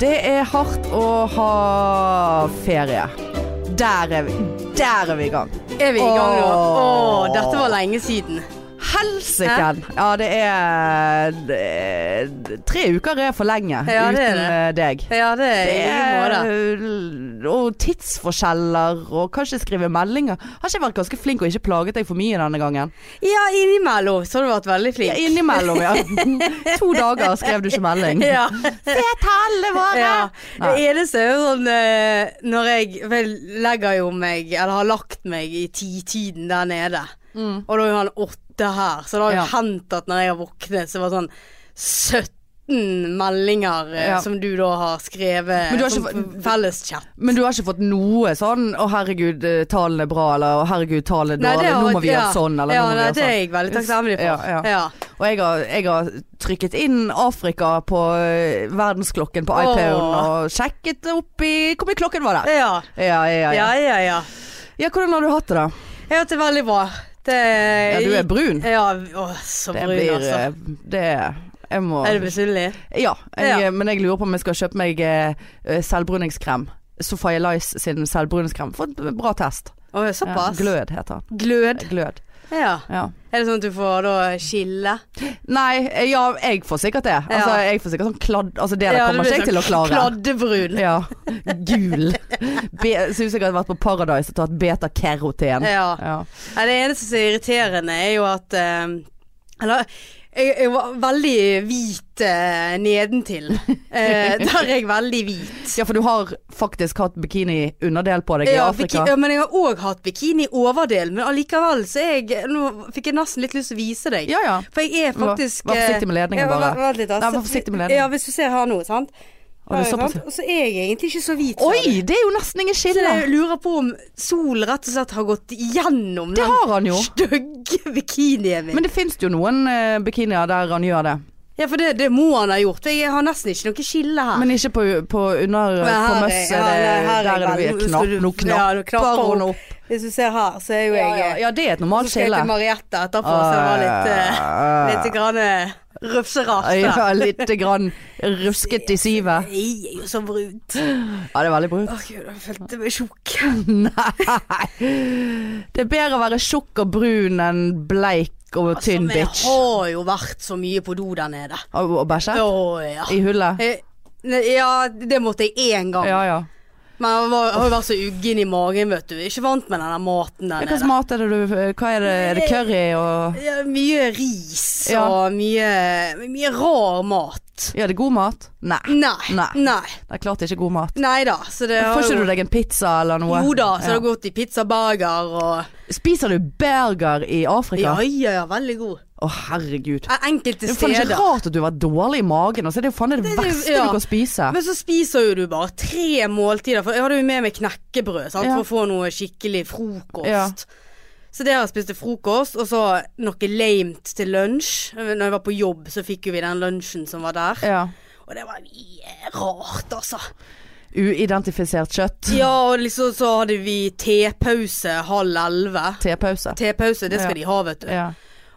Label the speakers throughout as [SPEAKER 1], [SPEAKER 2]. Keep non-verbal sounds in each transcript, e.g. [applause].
[SPEAKER 1] det er hardt å ha ferie. Der er vi. Der er vi i gang.
[SPEAKER 2] Er vi i gang nå?
[SPEAKER 1] Åh.
[SPEAKER 2] Åh, dette var lenge siden.
[SPEAKER 1] Helsiken! Ja, det er det- Tre uker er for lenge
[SPEAKER 2] Ja, det er
[SPEAKER 1] uten eh, deg.
[SPEAKER 2] Ja, det er i like måte.
[SPEAKER 1] Det er- Og tidsforskjeller, og kanskje skrive meldinger. Har ikke jeg vært ganske flink og ikke plaget deg for mye denne gangen?
[SPEAKER 2] Ja, innimellom så har du vært veldig
[SPEAKER 1] Ja,
[SPEAKER 2] flink.
[SPEAKER 1] Innimellom,
[SPEAKER 2] [laughs]
[SPEAKER 1] ja. To dager skrev du ikke melding.
[SPEAKER 2] Ja.
[SPEAKER 1] Se tallene våre!
[SPEAKER 2] ja. Det
[SPEAKER 1] Nei.
[SPEAKER 2] eneste er jo sånn eh, Når jeg for jeg legger jo meg, eller har lagt meg i titiden der nede,
[SPEAKER 1] Mm.
[SPEAKER 2] og da er jo han åtte her, så det har jo
[SPEAKER 1] Ja.
[SPEAKER 2] hendt at når jeg har våknet, så var det sånn 17 meldinger eh,
[SPEAKER 1] Ja.
[SPEAKER 2] som du da har skrevet
[SPEAKER 1] Men du har
[SPEAKER 2] som
[SPEAKER 1] ikke-
[SPEAKER 2] felleschat.
[SPEAKER 1] Men du har ikke fått noe sånn 'Å, herregud, eh, tallene er bra', eller 'Å, herregud, tallene er
[SPEAKER 2] Nei,
[SPEAKER 1] dårlig',
[SPEAKER 2] det har-
[SPEAKER 1] 'Nå må vi
[SPEAKER 2] ja.
[SPEAKER 1] gjøre sånn', eller
[SPEAKER 2] Ja,
[SPEAKER 1] 'Nå må vi
[SPEAKER 2] nei, det er
[SPEAKER 1] gjøre sånn'.
[SPEAKER 2] jeg veldig takknemlig for.
[SPEAKER 1] Ja, ja.
[SPEAKER 2] ja.
[SPEAKER 1] Og jeg har, jeg har trykket inn Afrika på eh, verdensklokken på
[SPEAKER 2] Åh.
[SPEAKER 1] iPaden og sjekket opp i Hvor mye klokken var det?
[SPEAKER 2] Ja,
[SPEAKER 1] Ja, ja, ja.
[SPEAKER 2] ja, ja. ja.
[SPEAKER 1] Ja, hvordan har du hatt det da?
[SPEAKER 2] Jeg har hatt det veldig bra. Det,
[SPEAKER 1] Ja, du er brun.
[SPEAKER 2] Ja, å, så
[SPEAKER 1] Det
[SPEAKER 2] brun,
[SPEAKER 1] blir
[SPEAKER 2] altså.
[SPEAKER 1] eh, Det Jeg må
[SPEAKER 2] Er du misunnelig?
[SPEAKER 1] Ja, jeg, eh,
[SPEAKER 2] Ja.
[SPEAKER 1] men jeg lurer på om jeg skal kjøpe meg eh, selvbruningskrem. Sofie Lice sin selvbruningskrem. For en bra test.
[SPEAKER 2] Å,
[SPEAKER 1] Ja,
[SPEAKER 2] såpass.
[SPEAKER 1] glød heter den.
[SPEAKER 2] Glød.
[SPEAKER 1] Glød.
[SPEAKER 2] Ja.
[SPEAKER 1] Ja.
[SPEAKER 2] Er det sånn at du får da skille?
[SPEAKER 1] Nei, eh, ja, jeg får sikkert det. Altså,
[SPEAKER 2] Ja.
[SPEAKER 1] jeg får sikkert sånn kladd Altså, det der
[SPEAKER 2] Ja,
[SPEAKER 1] kommer
[SPEAKER 2] blir
[SPEAKER 1] ikke jeg til å
[SPEAKER 2] sånn
[SPEAKER 1] klare.
[SPEAKER 2] Kladdebrun.
[SPEAKER 1] Ja. Gul. Be Syns jeg hadde vært på Paradise og tatt beta-keroten.
[SPEAKER 2] Ja.
[SPEAKER 1] Ja.
[SPEAKER 2] Nei, det eneste som er irriterende, er jo at eh, Eller jeg, jeg var veldig hvit eh,
[SPEAKER 1] [laughs]
[SPEAKER 2] nedentil. Eh, der er jeg veldig hvit.
[SPEAKER 1] ja, for du har faktisk hatt bikini-underdel på deg i
[SPEAKER 2] Ja,
[SPEAKER 1] Afrika.
[SPEAKER 2] biki- ja, men jeg har òg hatt bikini overdel, men allikevel så er jeg Nå fikk jeg nesten litt lyst til å vise deg.
[SPEAKER 1] Ja, ja.
[SPEAKER 2] For jeg er faktisk eh,
[SPEAKER 1] Vær- vær forsiktig med ledningen,
[SPEAKER 2] Ja, vær-
[SPEAKER 1] bare.
[SPEAKER 2] Vær, vær litt, da.
[SPEAKER 1] Nei, vær
[SPEAKER 2] Så-
[SPEAKER 1] forsiktig med ledningen.
[SPEAKER 2] Ja, hvis du ser her nå, sant.
[SPEAKER 1] Og det er
[SPEAKER 2] Her,
[SPEAKER 1] såpass-
[SPEAKER 2] sant? Og så er jeg egentlig ikke så hvit. ser du.
[SPEAKER 1] Oi, det er jo nesten ingen
[SPEAKER 2] Så
[SPEAKER 1] skille.
[SPEAKER 2] jeg lurer på om sol rett og slett har gått gjennom
[SPEAKER 1] Det
[SPEAKER 2] den
[SPEAKER 1] har han jo.
[SPEAKER 2] stygge [laughs] bikinien min.
[SPEAKER 1] Men det fins jo noen eh, bikinier der han gjør det.
[SPEAKER 2] ja, for det, det må han ha gjort. for Jeg har nesten ikke noe skille her.
[SPEAKER 1] Men ikke på, på under
[SPEAKER 2] Ah. Men her
[SPEAKER 1] På
[SPEAKER 2] er-
[SPEAKER 1] møss
[SPEAKER 2] ja,
[SPEAKER 1] er det
[SPEAKER 2] nei, her er
[SPEAKER 1] Der er det
[SPEAKER 2] jeg veldig-
[SPEAKER 1] knapp,
[SPEAKER 2] skal du-
[SPEAKER 1] noen
[SPEAKER 2] ja, noen knapper
[SPEAKER 1] knapper og noe opp.
[SPEAKER 2] Hvis du ser her, så er jo
[SPEAKER 1] Ja,
[SPEAKER 2] jeg eh,
[SPEAKER 1] ja, Ah, ja, det er et
[SPEAKER 2] Så
[SPEAKER 1] normalt
[SPEAKER 2] skal jeg
[SPEAKER 1] skille.
[SPEAKER 2] til Mariette etterpå, så det var litt eh, Litt grann eh, rufserafse.
[SPEAKER 1] Ja, litt grann rusket i sivet.
[SPEAKER 2] Jeg er jo så brunt. Å
[SPEAKER 1] Ja, det er veldig brunt.
[SPEAKER 2] gud, jeg følte meg tjukk.
[SPEAKER 1] Nei. Det er bedre å være tjukk og brun enn bleik
[SPEAKER 2] Altså,
[SPEAKER 1] og tynn bitch.
[SPEAKER 2] Jeg har jo vært så mye på do der nede.
[SPEAKER 1] Og og bæsje?
[SPEAKER 2] Å ja.
[SPEAKER 1] I hullet?
[SPEAKER 2] Eh, ne- Ja, det måtte jeg én gang.
[SPEAKER 1] Ja ja.
[SPEAKER 2] Men jeg var- jeg har jo vært så uggen i magen, vet du. Ikke vant med den der maten der
[SPEAKER 1] Hvilken
[SPEAKER 2] nede.
[SPEAKER 1] mat er det du Hva er det? Er det curry og
[SPEAKER 2] Ja, mye ris
[SPEAKER 1] Ja.
[SPEAKER 2] og mye, mye rar mat.
[SPEAKER 1] Ja, det er god mat? Nei.
[SPEAKER 2] Nei.
[SPEAKER 1] Nei.
[SPEAKER 2] Nei.
[SPEAKER 1] Det er klart ikke god mat.
[SPEAKER 2] Nei da. Så det har
[SPEAKER 1] Får ikke
[SPEAKER 2] jo
[SPEAKER 1] du deg en pizza eller noe?
[SPEAKER 2] Jo da, så det
[SPEAKER 1] Ja.
[SPEAKER 2] har gått i pizza, burger og
[SPEAKER 1] Spiser du burger i Afrika?
[SPEAKER 2] Ja, ja, ja, veldig god.
[SPEAKER 1] Å herregud.
[SPEAKER 2] Enkelte
[SPEAKER 1] Det er faen ikke
[SPEAKER 2] steder.
[SPEAKER 1] rart at du har vært dårlig i magen. Altså. Det er jo faen det,
[SPEAKER 2] Det- det-
[SPEAKER 1] verste
[SPEAKER 2] ja.
[SPEAKER 1] du kan spise.
[SPEAKER 2] Men så spiser jo du bare tre måltider. For jeg hadde jo med meg knekkebrød sant?
[SPEAKER 1] Ja.
[SPEAKER 2] for å få noe skikkelig frokost.
[SPEAKER 1] Ja.
[SPEAKER 2] Så det har jeg spist til frokost, og så noe lamet til lunsj. Når jeg var på jobb, så fikk jo vi den lunsjen som var der.
[SPEAKER 1] Ja.
[SPEAKER 2] Og det var mye rart, altså.
[SPEAKER 1] Uidentifisert kjøtt.
[SPEAKER 2] Ja, og liksom så hadde vi tepause halv elleve.
[SPEAKER 1] Tepause.
[SPEAKER 2] Tepause, det skal
[SPEAKER 1] Ja.
[SPEAKER 2] de ha, vet du.
[SPEAKER 1] Ja.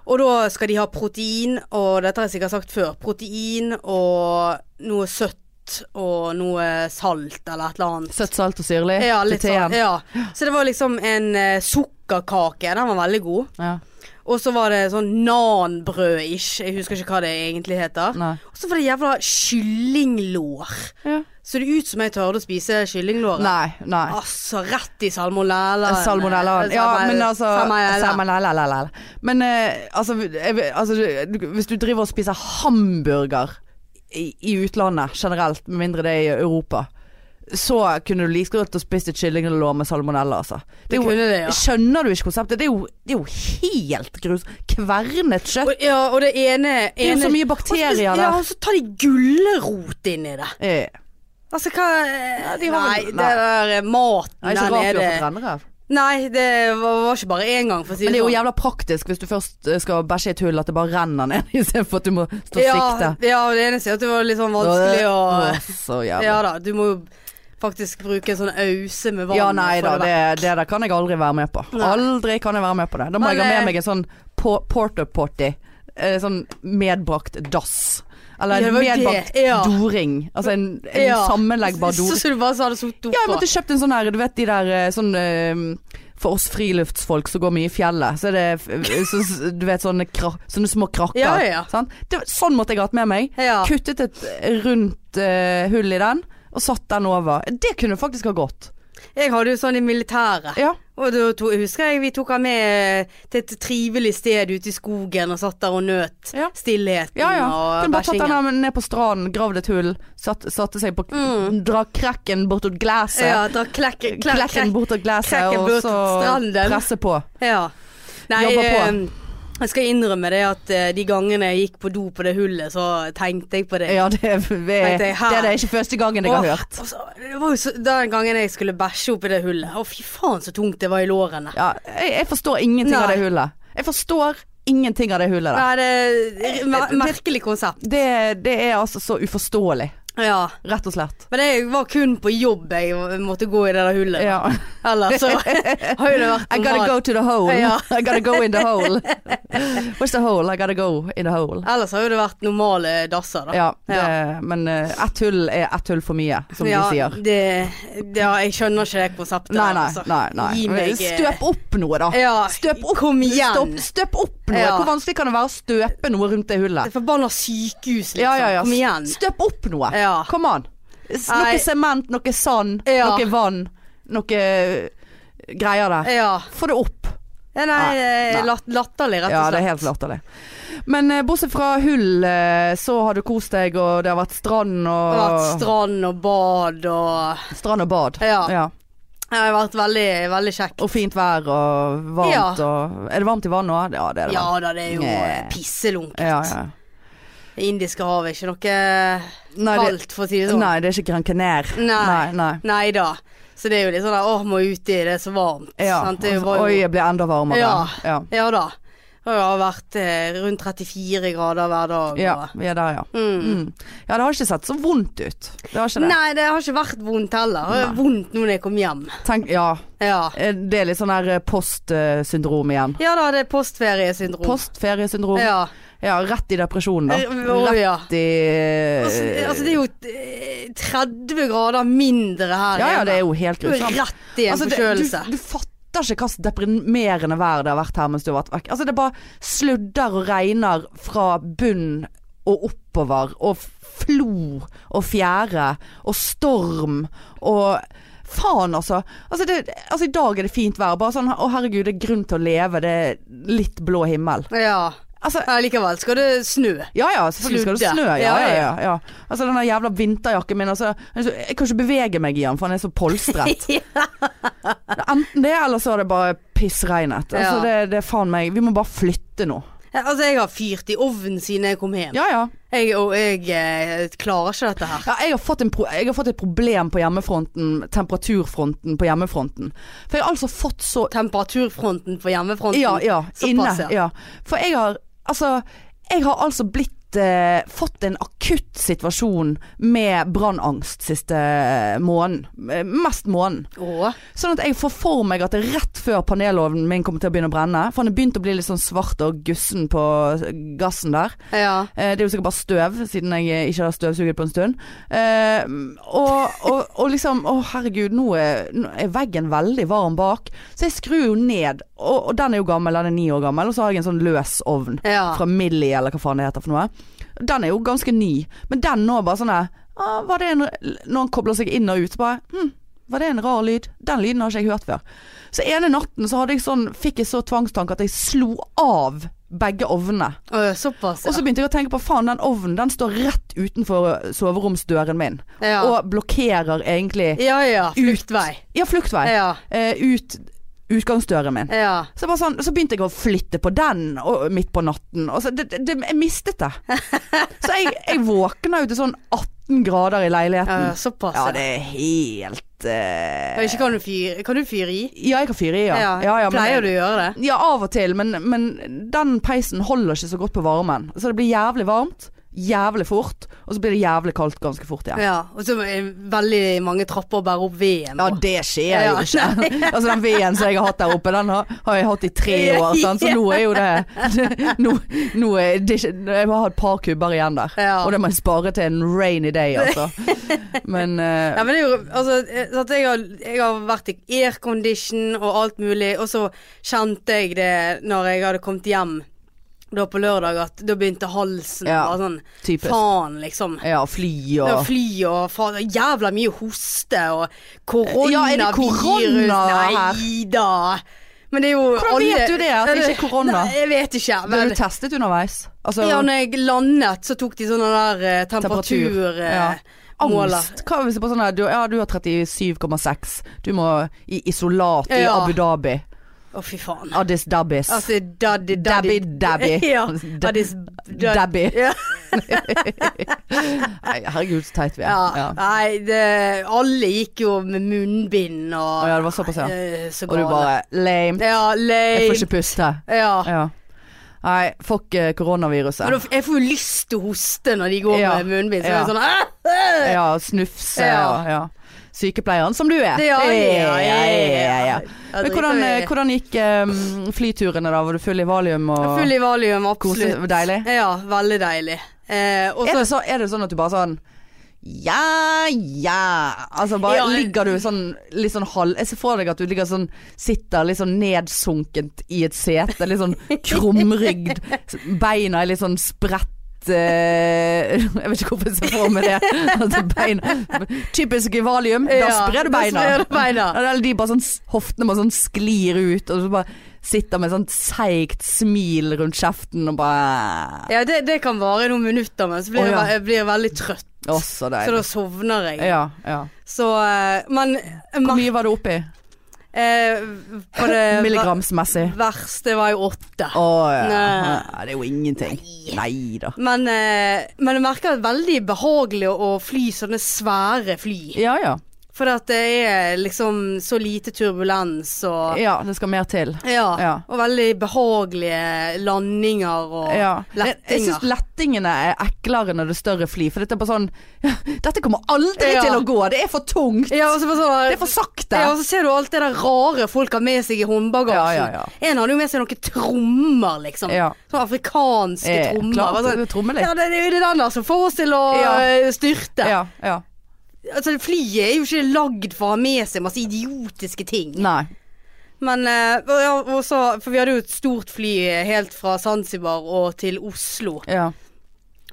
[SPEAKER 2] Og da skal de ha protein, og dette har jeg sikkert sagt før. Protein og noe søtt og noe salt eller et eller annet.
[SPEAKER 1] Søtt, salt og syrlig
[SPEAKER 2] Ja,
[SPEAKER 1] til
[SPEAKER 2] litt sånn.
[SPEAKER 1] teen.
[SPEAKER 2] Ja. Så det var liksom en eh, sukkerkake. Den var veldig god.
[SPEAKER 1] Ja.
[SPEAKER 2] Og så var det sånn nanbrød-ish. Jeg husker ikke hva det egentlig heter.
[SPEAKER 1] Nei.
[SPEAKER 2] Og så var det jævla kyllinglår.
[SPEAKER 1] Ja.
[SPEAKER 2] Så det ut som jeg tørde å spise kyllinglåret.
[SPEAKER 1] Nei, nei.
[SPEAKER 2] Altså, rett i salmonella.
[SPEAKER 1] Salmonellaen. Ja, men altså
[SPEAKER 2] Salmonella.
[SPEAKER 1] salmonella. Men eh, altså, jeg- altså du- du- Hvis du driver og spiser hamburger i, i utlandet generelt, med mindre det er i Europa, så kunne du like godt ha spist et kyllinglår med salmonella, altså. Det er jo,
[SPEAKER 2] kunne det, ja.
[SPEAKER 1] Skjønner du ikke konseptet? Det er jo, det er jo helt grus... Kvernet kjøtt.
[SPEAKER 2] Og, ja, og det ene, ene
[SPEAKER 1] Det er jo så mye bakterier
[SPEAKER 2] og så, ja,
[SPEAKER 1] der.
[SPEAKER 2] og så tar de gulrot inn i det.
[SPEAKER 1] Eh,
[SPEAKER 2] Altså hva
[SPEAKER 1] de har
[SPEAKER 2] Nei,
[SPEAKER 1] vel-
[SPEAKER 2] det
[SPEAKER 1] nei.
[SPEAKER 2] der eh,
[SPEAKER 1] Det
[SPEAKER 2] maten
[SPEAKER 1] er ikke rart
[SPEAKER 2] der
[SPEAKER 1] du
[SPEAKER 2] nede
[SPEAKER 1] har fått rennerev.
[SPEAKER 2] Nei, det var, var ikke bare én gang, for å si
[SPEAKER 1] Men det er jo
[SPEAKER 2] sånn.
[SPEAKER 1] jævla praktisk hvis du først eh, skal bæsje i et hull, at det bare renner ned [laughs] istedenfor at du må stå og sikte.
[SPEAKER 2] sånn. ja, ja, det eneste er at det var litt sånn vanskelig å
[SPEAKER 1] Å, Så jævla.
[SPEAKER 2] Ja da, du må jo faktisk bruke en sånn ause med vann.
[SPEAKER 1] Ja, nei
[SPEAKER 2] for å
[SPEAKER 1] da,
[SPEAKER 2] være-
[SPEAKER 1] det, det der kan jeg aldri være med på.
[SPEAKER 2] Nei.
[SPEAKER 1] Aldri kan jeg være med på det. Da må
[SPEAKER 2] Men,
[SPEAKER 1] jeg ha
[SPEAKER 2] eh,
[SPEAKER 1] med meg en sånn po porter potty. eh, Sånn medbrakt dass. Eller
[SPEAKER 2] Ja, det
[SPEAKER 1] en
[SPEAKER 2] var jo det.
[SPEAKER 1] medbakt
[SPEAKER 2] Ja.
[SPEAKER 1] doring. Altså en, en
[SPEAKER 2] Ja.
[SPEAKER 1] sammenleggbar
[SPEAKER 2] [laughs] Så,
[SPEAKER 1] doring.
[SPEAKER 2] så du bare sa det sot opp
[SPEAKER 1] Ja, jeg
[SPEAKER 2] på.
[SPEAKER 1] måtte kjøpt en sånn her, du vet de der eh, sånn eh, For oss friluftsfolk som går mye i fjellet, så er det f- eh, så, s- Du vet sånne, kra, sånne små krakker.
[SPEAKER 2] Ja, ja.
[SPEAKER 1] Sant? Det, var- sånn måtte jeg hatt med meg.
[SPEAKER 2] Ja.
[SPEAKER 1] Kuttet et rundt eh, hull i den, og satt den over. Det kunne faktisk ha gått.
[SPEAKER 2] Jeg hadde jo sånn i militæret.
[SPEAKER 1] Ja.
[SPEAKER 2] Og da to, husker jeg vi tok han med eh, til et trivelig sted ute i skogen og satt der og nøt
[SPEAKER 1] Ja.
[SPEAKER 2] stillheten
[SPEAKER 1] Ja, ja.
[SPEAKER 2] og
[SPEAKER 1] Kunne bare tatt den
[SPEAKER 2] bæsjingen.
[SPEAKER 1] her ned på stranden, gravd et hull, satt, satte seg på
[SPEAKER 2] Mm.
[SPEAKER 1] Dra krekken bortåt glasset.
[SPEAKER 2] Ja, da klekk, klekk,
[SPEAKER 1] Klekken
[SPEAKER 2] klekk.
[SPEAKER 1] bortåt glasset,
[SPEAKER 2] krekken
[SPEAKER 1] og
[SPEAKER 2] bortåt
[SPEAKER 1] så
[SPEAKER 2] stranden.
[SPEAKER 1] presse på.
[SPEAKER 2] Ja. Nei,
[SPEAKER 1] Jobber på.
[SPEAKER 2] eh, jeg skal innrømme det at eh, de gangene jeg gikk på do på det hullet, så tenkte jeg på det.
[SPEAKER 1] Ja, det, er- det, er-
[SPEAKER 2] Tenkte jeg, her.
[SPEAKER 1] det er det ikke første gangen jeg har
[SPEAKER 2] Åh,
[SPEAKER 1] hørt.
[SPEAKER 2] altså, det var jo så, den gangen jeg skulle bæsje opp i det hullet. Å, fy faen så tungt det var i lårene.
[SPEAKER 1] Ja, jeg, jeg forstår ingenting av
[SPEAKER 2] Nei.
[SPEAKER 1] det hullet. Jeg forstår ingenting av det hullet der.
[SPEAKER 2] Nei, det er mer- merkelig konsept.
[SPEAKER 1] Det, det er altså så uforståelig,
[SPEAKER 2] Ja.
[SPEAKER 1] rett og slett.
[SPEAKER 2] Men jeg var kun på jobb jeg måtte gå i det der hullet.
[SPEAKER 1] Ja.
[SPEAKER 2] Ellers
[SPEAKER 1] [laughs]
[SPEAKER 2] så har jo det vært
[SPEAKER 1] I gotta go to the hole.
[SPEAKER 2] Ja.
[SPEAKER 1] [laughs] I gotta go in the hole. Where's the hole? I gotta go in the hole.
[SPEAKER 2] Ellers har jo det vært normale dasser, da.
[SPEAKER 1] Ja, det, men eh, ett hull er ett hull for mye, som de sier.
[SPEAKER 2] Det, det, ja, jeg skjønner ikke det konseptet.
[SPEAKER 1] Nei,
[SPEAKER 2] der,
[SPEAKER 1] nei,
[SPEAKER 2] altså.
[SPEAKER 1] nei. nei.
[SPEAKER 2] Gi meg eh,
[SPEAKER 1] Støp opp noe, da.
[SPEAKER 2] Ja,
[SPEAKER 1] Støp opp,
[SPEAKER 2] kom igjen.
[SPEAKER 1] Støp, støp opp noe.
[SPEAKER 2] Ja.
[SPEAKER 1] Hvor vanskelig kan det være å støpe noe rundt det hullet?
[SPEAKER 2] Det forbanna sykehus, liksom.
[SPEAKER 1] Ja, ja, ja.
[SPEAKER 2] Kom igjen.
[SPEAKER 1] Støp opp noe.
[SPEAKER 2] Ja.
[SPEAKER 1] Kom an. S-
[SPEAKER 2] Nei.
[SPEAKER 1] Noe sement, noe sand,
[SPEAKER 2] Ja.
[SPEAKER 1] noe vann, noe eh, greier der.
[SPEAKER 2] Ja.
[SPEAKER 1] Få det opp.
[SPEAKER 2] ja nei,
[SPEAKER 1] Nei,
[SPEAKER 2] eh,
[SPEAKER 1] nei.
[SPEAKER 2] lat- latterlig, rett
[SPEAKER 1] Ja,
[SPEAKER 2] og
[SPEAKER 1] det
[SPEAKER 2] slett.
[SPEAKER 1] er helt latterlig. Men eh, bortsett fra hull, eh, så har du kost deg, og det har vært strand
[SPEAKER 2] Det har vært
[SPEAKER 1] og
[SPEAKER 2] strand og bad og
[SPEAKER 1] Strand og bad.
[SPEAKER 2] Ja. Det har vært veldig, veldig kjekt.
[SPEAKER 1] Og fint vær og varmt
[SPEAKER 2] Ja.
[SPEAKER 1] og Er det varmt i vannet òg? Ja, det er det.
[SPEAKER 2] Ja
[SPEAKER 1] vel.
[SPEAKER 2] da, det er jo
[SPEAKER 1] Nei.
[SPEAKER 2] pisselunkent.
[SPEAKER 1] ja, ja.
[SPEAKER 2] Det indiske havet er ikke noe
[SPEAKER 1] Nei, det,
[SPEAKER 2] kaldt, for å si det sånn.
[SPEAKER 1] nei, det er ikke Gran Canaria.
[SPEAKER 2] Nei.
[SPEAKER 1] nei.
[SPEAKER 2] Nei da. Så det er jo litt sånn der, åh, må ut i det er så varmt.
[SPEAKER 1] Ja.
[SPEAKER 2] sant? Det var jo,
[SPEAKER 1] Oi, jeg blir enda varmere.
[SPEAKER 2] Ja.
[SPEAKER 1] ja.
[SPEAKER 2] ja da. Det har vært eh, rundt 34 grader hver dag.
[SPEAKER 1] Ja,
[SPEAKER 2] og-
[SPEAKER 1] vi er der, ja.
[SPEAKER 2] Mm.
[SPEAKER 1] Mm. Ja, det har ikke sett så vondt ut. Det har ikke det.
[SPEAKER 2] Nei, det har ikke vært vondt heller. Det var
[SPEAKER 1] Nei.
[SPEAKER 2] vondt nå når jeg kom hjem.
[SPEAKER 1] Tenk, ja,
[SPEAKER 2] Ja,
[SPEAKER 1] eh, det er litt sånn her eh, postsyndrom igjen.
[SPEAKER 2] ja da, det er postferiesyndrom.
[SPEAKER 1] Postferiesyndrom. Ja.
[SPEAKER 2] Mm. Ja.
[SPEAKER 1] rett i depresjon, da.
[SPEAKER 2] Eh, å,
[SPEAKER 1] Rett
[SPEAKER 2] ja.
[SPEAKER 1] i
[SPEAKER 2] Altså, altså, det er jo eh, 30 grader mindre
[SPEAKER 1] Ja
[SPEAKER 2] her
[SPEAKER 1] ja,
[SPEAKER 2] hjemme.
[SPEAKER 1] det er jo helt
[SPEAKER 2] Du er
[SPEAKER 1] grusomt.
[SPEAKER 2] Rett i en
[SPEAKER 1] Altså, det-
[SPEAKER 2] forkjølelse.
[SPEAKER 1] Du, du fatter ikke hva slags deprimerende vær det har vært her mens du har vært vekk. Altså, det bare sludder og regner fra bunn og oppover, og flo og fjære, og storm og Faen, altså. Altså, det, altså. I dag er det fint vær. Bare sånn Å, herregud, det er grunn til å leve. Det er litt blå himmel.
[SPEAKER 2] Ja.
[SPEAKER 1] Altså,
[SPEAKER 2] ja, likevel skal det snø.
[SPEAKER 1] ja ja, selvfølgelig skal det
[SPEAKER 2] Sludde.
[SPEAKER 1] snø. Ja,
[SPEAKER 2] Ja,
[SPEAKER 1] ja,
[SPEAKER 2] ja.
[SPEAKER 1] ja, ja. Altså, den der jævla vinterjakken min, altså. Jeg kan ikke bevege meg i den, for den er så polstret. [laughs] Enten det, eller så er det bare pissregnet. Altså,
[SPEAKER 2] Ja.
[SPEAKER 1] det, det er faen meg Vi må bare flytte nå.
[SPEAKER 2] Altså, jeg har fyrt i ovnen siden jeg kom hjem.
[SPEAKER 1] Ja, ja.
[SPEAKER 2] Jeg, og jeg eh, klarer ikke dette her.
[SPEAKER 1] ja jeg, har fått en pro jeg har fått et problem på hjemmefronten. Temperaturfronten på hjemmefronten. For jeg har altså fått så
[SPEAKER 2] Temperaturfronten på hjemmefronten.
[SPEAKER 1] Ja, ja. Inne.
[SPEAKER 2] Såpass, ja.
[SPEAKER 1] Ja. For jeg har altså Jeg har altså blitt eh, fått en akutt situasjon med brannangst siste måneden. Eh, Mest måneden.
[SPEAKER 2] Å,
[SPEAKER 1] Sånn at jeg får for meg at det er rett før panelovnen min kommer til å begynne å brenne. For han er begynt å bli litt sånn svart og gussen på gassen der.
[SPEAKER 2] ja.
[SPEAKER 1] Eh, Det er jo sikkert bare støv, siden jeg eh, ikke har støvsuget på en stund. Eh, og, og, og liksom Å, herregud, nå er, nå er veggen veldig varm bak. Så jeg skrur jo ned, og, og den er jo gammel, den er ni år gammel. Og så har jeg en sånn løs ovn
[SPEAKER 2] Ja.
[SPEAKER 1] fra Millie, eller hva faen det heter for noe. Den er jo ganske ny, men den nå bare sånn der, «Ah, Var det en Når han kobler seg inn og ut, så bare hm, var det en rar lyd? Den lyden har ikke jeg hørt før. Så ene natten så hadde jeg sånn, fikk jeg så tvangstanke at jeg slo av begge ovnene.
[SPEAKER 2] Å, Såpass, ja.
[SPEAKER 1] Og så begynte jeg å tenke på faen, den ovnen den står rett utenfor eh, soveromsdøren min.
[SPEAKER 2] ja.
[SPEAKER 1] Og blokkerer egentlig
[SPEAKER 2] ja, ja. Fluktvei.
[SPEAKER 1] Ja, fluktvei.
[SPEAKER 2] Ja.
[SPEAKER 1] Eh, ut utgangsdøren min.
[SPEAKER 2] ja.
[SPEAKER 1] Så, bare sånn, så begynte jeg å flytte på den og, midt på natten. Og så, det, det, jeg mistet
[SPEAKER 2] [laughs]
[SPEAKER 1] det. Så jeg, jeg våkna jo til sånn 18 grader i
[SPEAKER 2] ja.
[SPEAKER 1] leiligheten.
[SPEAKER 2] Såpass,
[SPEAKER 1] Mm. Ja,
[SPEAKER 2] ja.
[SPEAKER 1] det er helt eh,
[SPEAKER 2] Ja, Ikke kan du fyre Kan du fyre i?
[SPEAKER 1] Ja, jeg kan fyre i, ja. ja, men-
[SPEAKER 2] Pleier du å gjøre det?
[SPEAKER 1] Ja, av og til, men, men den peisen holder ikke så godt på varmen. Så det blir jævlig varmt. jævlig fort, og så blir det jævlig kaldt ganske fort igjen.
[SPEAKER 2] Ja, og så er det veldig mange trapper å bære opp veden.
[SPEAKER 1] Ja,
[SPEAKER 2] på.
[SPEAKER 1] det skjer
[SPEAKER 2] Ja,
[SPEAKER 1] jo [laughs] ikke. altså Den veden som jeg har hatt der oppe, den har, har jeg hatt i tre år. Sant? [laughs] Så nå er jo det [laughs] Nå, nå er det ikke Jeg har et par kubber igjen der.
[SPEAKER 2] Ja.
[SPEAKER 1] Og det må jeg spare til en rainy day, [laughs] altså. Men eh,
[SPEAKER 2] Ja, men det er jo, altså, eh, sånn at jeg, har, jeg har vært i aircondition og alt mulig, og så kjente jeg det når jeg hadde kommet hjem da på lørdag, at da begynte halsen
[SPEAKER 1] Ja,
[SPEAKER 2] å være sånn
[SPEAKER 1] typisk.
[SPEAKER 2] Faen, liksom.
[SPEAKER 1] ja, fly
[SPEAKER 2] Det var
[SPEAKER 1] og
[SPEAKER 2] fly og faen, det var jævla mye hoste og koronavirus.
[SPEAKER 1] Ja, er det korona her?
[SPEAKER 2] Nei da. Men det er jo
[SPEAKER 1] Hvordan vet du det, at det ikke er korona?
[SPEAKER 2] Nei, jeg vet ikke.
[SPEAKER 1] Ble
[SPEAKER 2] Men
[SPEAKER 1] du testet underveis? Altså
[SPEAKER 2] ja, når jeg landet, så tok de sånne der eh,
[SPEAKER 1] Temperatur,
[SPEAKER 2] temperatur... eh,
[SPEAKER 1] ja.
[SPEAKER 2] måler.
[SPEAKER 1] angst? Hva hvis det er bare sånn her du, Ja, du har 37,6. Du må i isolat i
[SPEAKER 2] Ja.
[SPEAKER 1] Abu Dhabi.
[SPEAKER 2] Å, fy faen.
[SPEAKER 1] Addis Dabbis.
[SPEAKER 2] Altså, daddy,
[SPEAKER 1] Dabby,
[SPEAKER 2] daddy.
[SPEAKER 1] [laughs] dabby.
[SPEAKER 2] [laughs] ja. Addis da-
[SPEAKER 1] Dabby.
[SPEAKER 2] Ja.
[SPEAKER 1] Nei, herregud, så teit vi er.
[SPEAKER 2] ja.
[SPEAKER 1] [laughs] Ja.
[SPEAKER 2] Nei, det, alle gikk jo med munnbind og
[SPEAKER 1] Å ja, det var såpass, ja.
[SPEAKER 2] Eh, så
[SPEAKER 1] Og du
[SPEAKER 2] gale.
[SPEAKER 1] bare lame.
[SPEAKER 2] Ja,
[SPEAKER 1] Jeg får
[SPEAKER 2] lame.
[SPEAKER 1] ikke puste.
[SPEAKER 2] Ja.
[SPEAKER 1] Ja. Nei, fuck eh,
[SPEAKER 2] Men da
[SPEAKER 1] koronaviruset.
[SPEAKER 2] f- jeg får jo lyst til å hoste når de går
[SPEAKER 1] Ja.
[SPEAKER 2] med munnbind. Så
[SPEAKER 1] Ja.
[SPEAKER 2] er det sånn «Æ, æ!»
[SPEAKER 1] Ja, snufse
[SPEAKER 2] Ja.
[SPEAKER 1] og ja. Sykepleieren som du er.
[SPEAKER 2] Det- ja, ja, ja,
[SPEAKER 1] ja, ja.
[SPEAKER 2] ja. Ja,
[SPEAKER 1] Men hvordan,
[SPEAKER 2] driter
[SPEAKER 1] eh,
[SPEAKER 2] vi.
[SPEAKER 1] hvordan gikk eh, flyturene da? Var du full i valium og
[SPEAKER 2] Full i valium,
[SPEAKER 1] Kose-
[SPEAKER 2] absolutt.
[SPEAKER 1] deilig?
[SPEAKER 2] Ja, veldig deilig. Eh, og
[SPEAKER 1] er,
[SPEAKER 2] så
[SPEAKER 1] det så, er det sånn at du bare sånn ja, ja Altså bare
[SPEAKER 2] Ja, jeg-
[SPEAKER 1] ligger du sånn litt sånn halv Jeg ser for deg at du ligger sånn Sitter litt sånn nedsunkent i et sete Litt
[SPEAKER 2] [laughs]
[SPEAKER 1] sånn krumrygd Beina er litt sånn spredt eh, Jeg vet ikke hvorfor jeg ser for meg det altså, beina, Typisk i valium Da
[SPEAKER 2] Ja,
[SPEAKER 1] sprer du
[SPEAKER 2] da
[SPEAKER 1] beina
[SPEAKER 2] sprer du beina.
[SPEAKER 1] Eller de bare sånn s- Hoftene bare sånn sklir ut Og så bare sitter med sånn seigt smil rundt kjeften Og bare
[SPEAKER 2] [laughs] Ja, det, det kan vare noen minutter, men så
[SPEAKER 1] Å,
[SPEAKER 2] blir jeg,
[SPEAKER 1] ja.
[SPEAKER 2] ve- jeg blir veldig trøtt.
[SPEAKER 1] Å, så
[SPEAKER 2] Så da
[SPEAKER 1] deilig
[SPEAKER 2] sovner jeg.
[SPEAKER 1] ja, ja.
[SPEAKER 2] Så eh, Men
[SPEAKER 1] Hvor
[SPEAKER 2] men,
[SPEAKER 1] mye var du oppi?
[SPEAKER 2] eh,
[SPEAKER 1] [laughs]
[SPEAKER 2] på det ver-
[SPEAKER 1] Milligramsmessig.
[SPEAKER 2] verste var jo åtte.
[SPEAKER 1] Å ja.
[SPEAKER 2] Nei.
[SPEAKER 1] ja. Det er jo ingenting. Nei da.
[SPEAKER 2] Men, eh, men jeg merker det er veldig behagelig å fly sånne svære fly.
[SPEAKER 1] Ja ja.
[SPEAKER 2] For at det er liksom så lite turbulens og
[SPEAKER 1] ja det skal mer til.
[SPEAKER 2] Ja.
[SPEAKER 1] Ja.
[SPEAKER 2] Og veldig behagelige landinger og
[SPEAKER 1] Ja. Jeg, jeg syns
[SPEAKER 2] lettinger.
[SPEAKER 1] lettingene er eklere når det er større fly, for dette er bare sånn Dette kommer aldri
[SPEAKER 2] Ja.
[SPEAKER 1] til å gå, det er for tungt.
[SPEAKER 2] Ja, og så bare sånn-
[SPEAKER 1] Det er for sakte.
[SPEAKER 2] Ja, og så ser du alt det der rare folk har med seg i håndbagasjen.
[SPEAKER 1] Ja, ja,
[SPEAKER 2] En hadde jo med seg noen trommer, liksom.
[SPEAKER 1] Ja.
[SPEAKER 2] Sånne afrikanske
[SPEAKER 1] Eh,
[SPEAKER 2] trommer.
[SPEAKER 1] klart,
[SPEAKER 2] Bare sånn,
[SPEAKER 1] det er trommelitt.
[SPEAKER 2] Ja, det, det er jo det den der som får oss til å
[SPEAKER 1] Ja.
[SPEAKER 2] eh, styrte.
[SPEAKER 1] Ja, ja.
[SPEAKER 2] Altså, flyet er jo ikke lagd for å ha med seg masse idiotiske ting.
[SPEAKER 1] Nei.
[SPEAKER 2] Men eh, og ja, og så- For vi hadde jo et stort fly eh, helt fra Zanzibar og til Oslo.
[SPEAKER 1] Ja.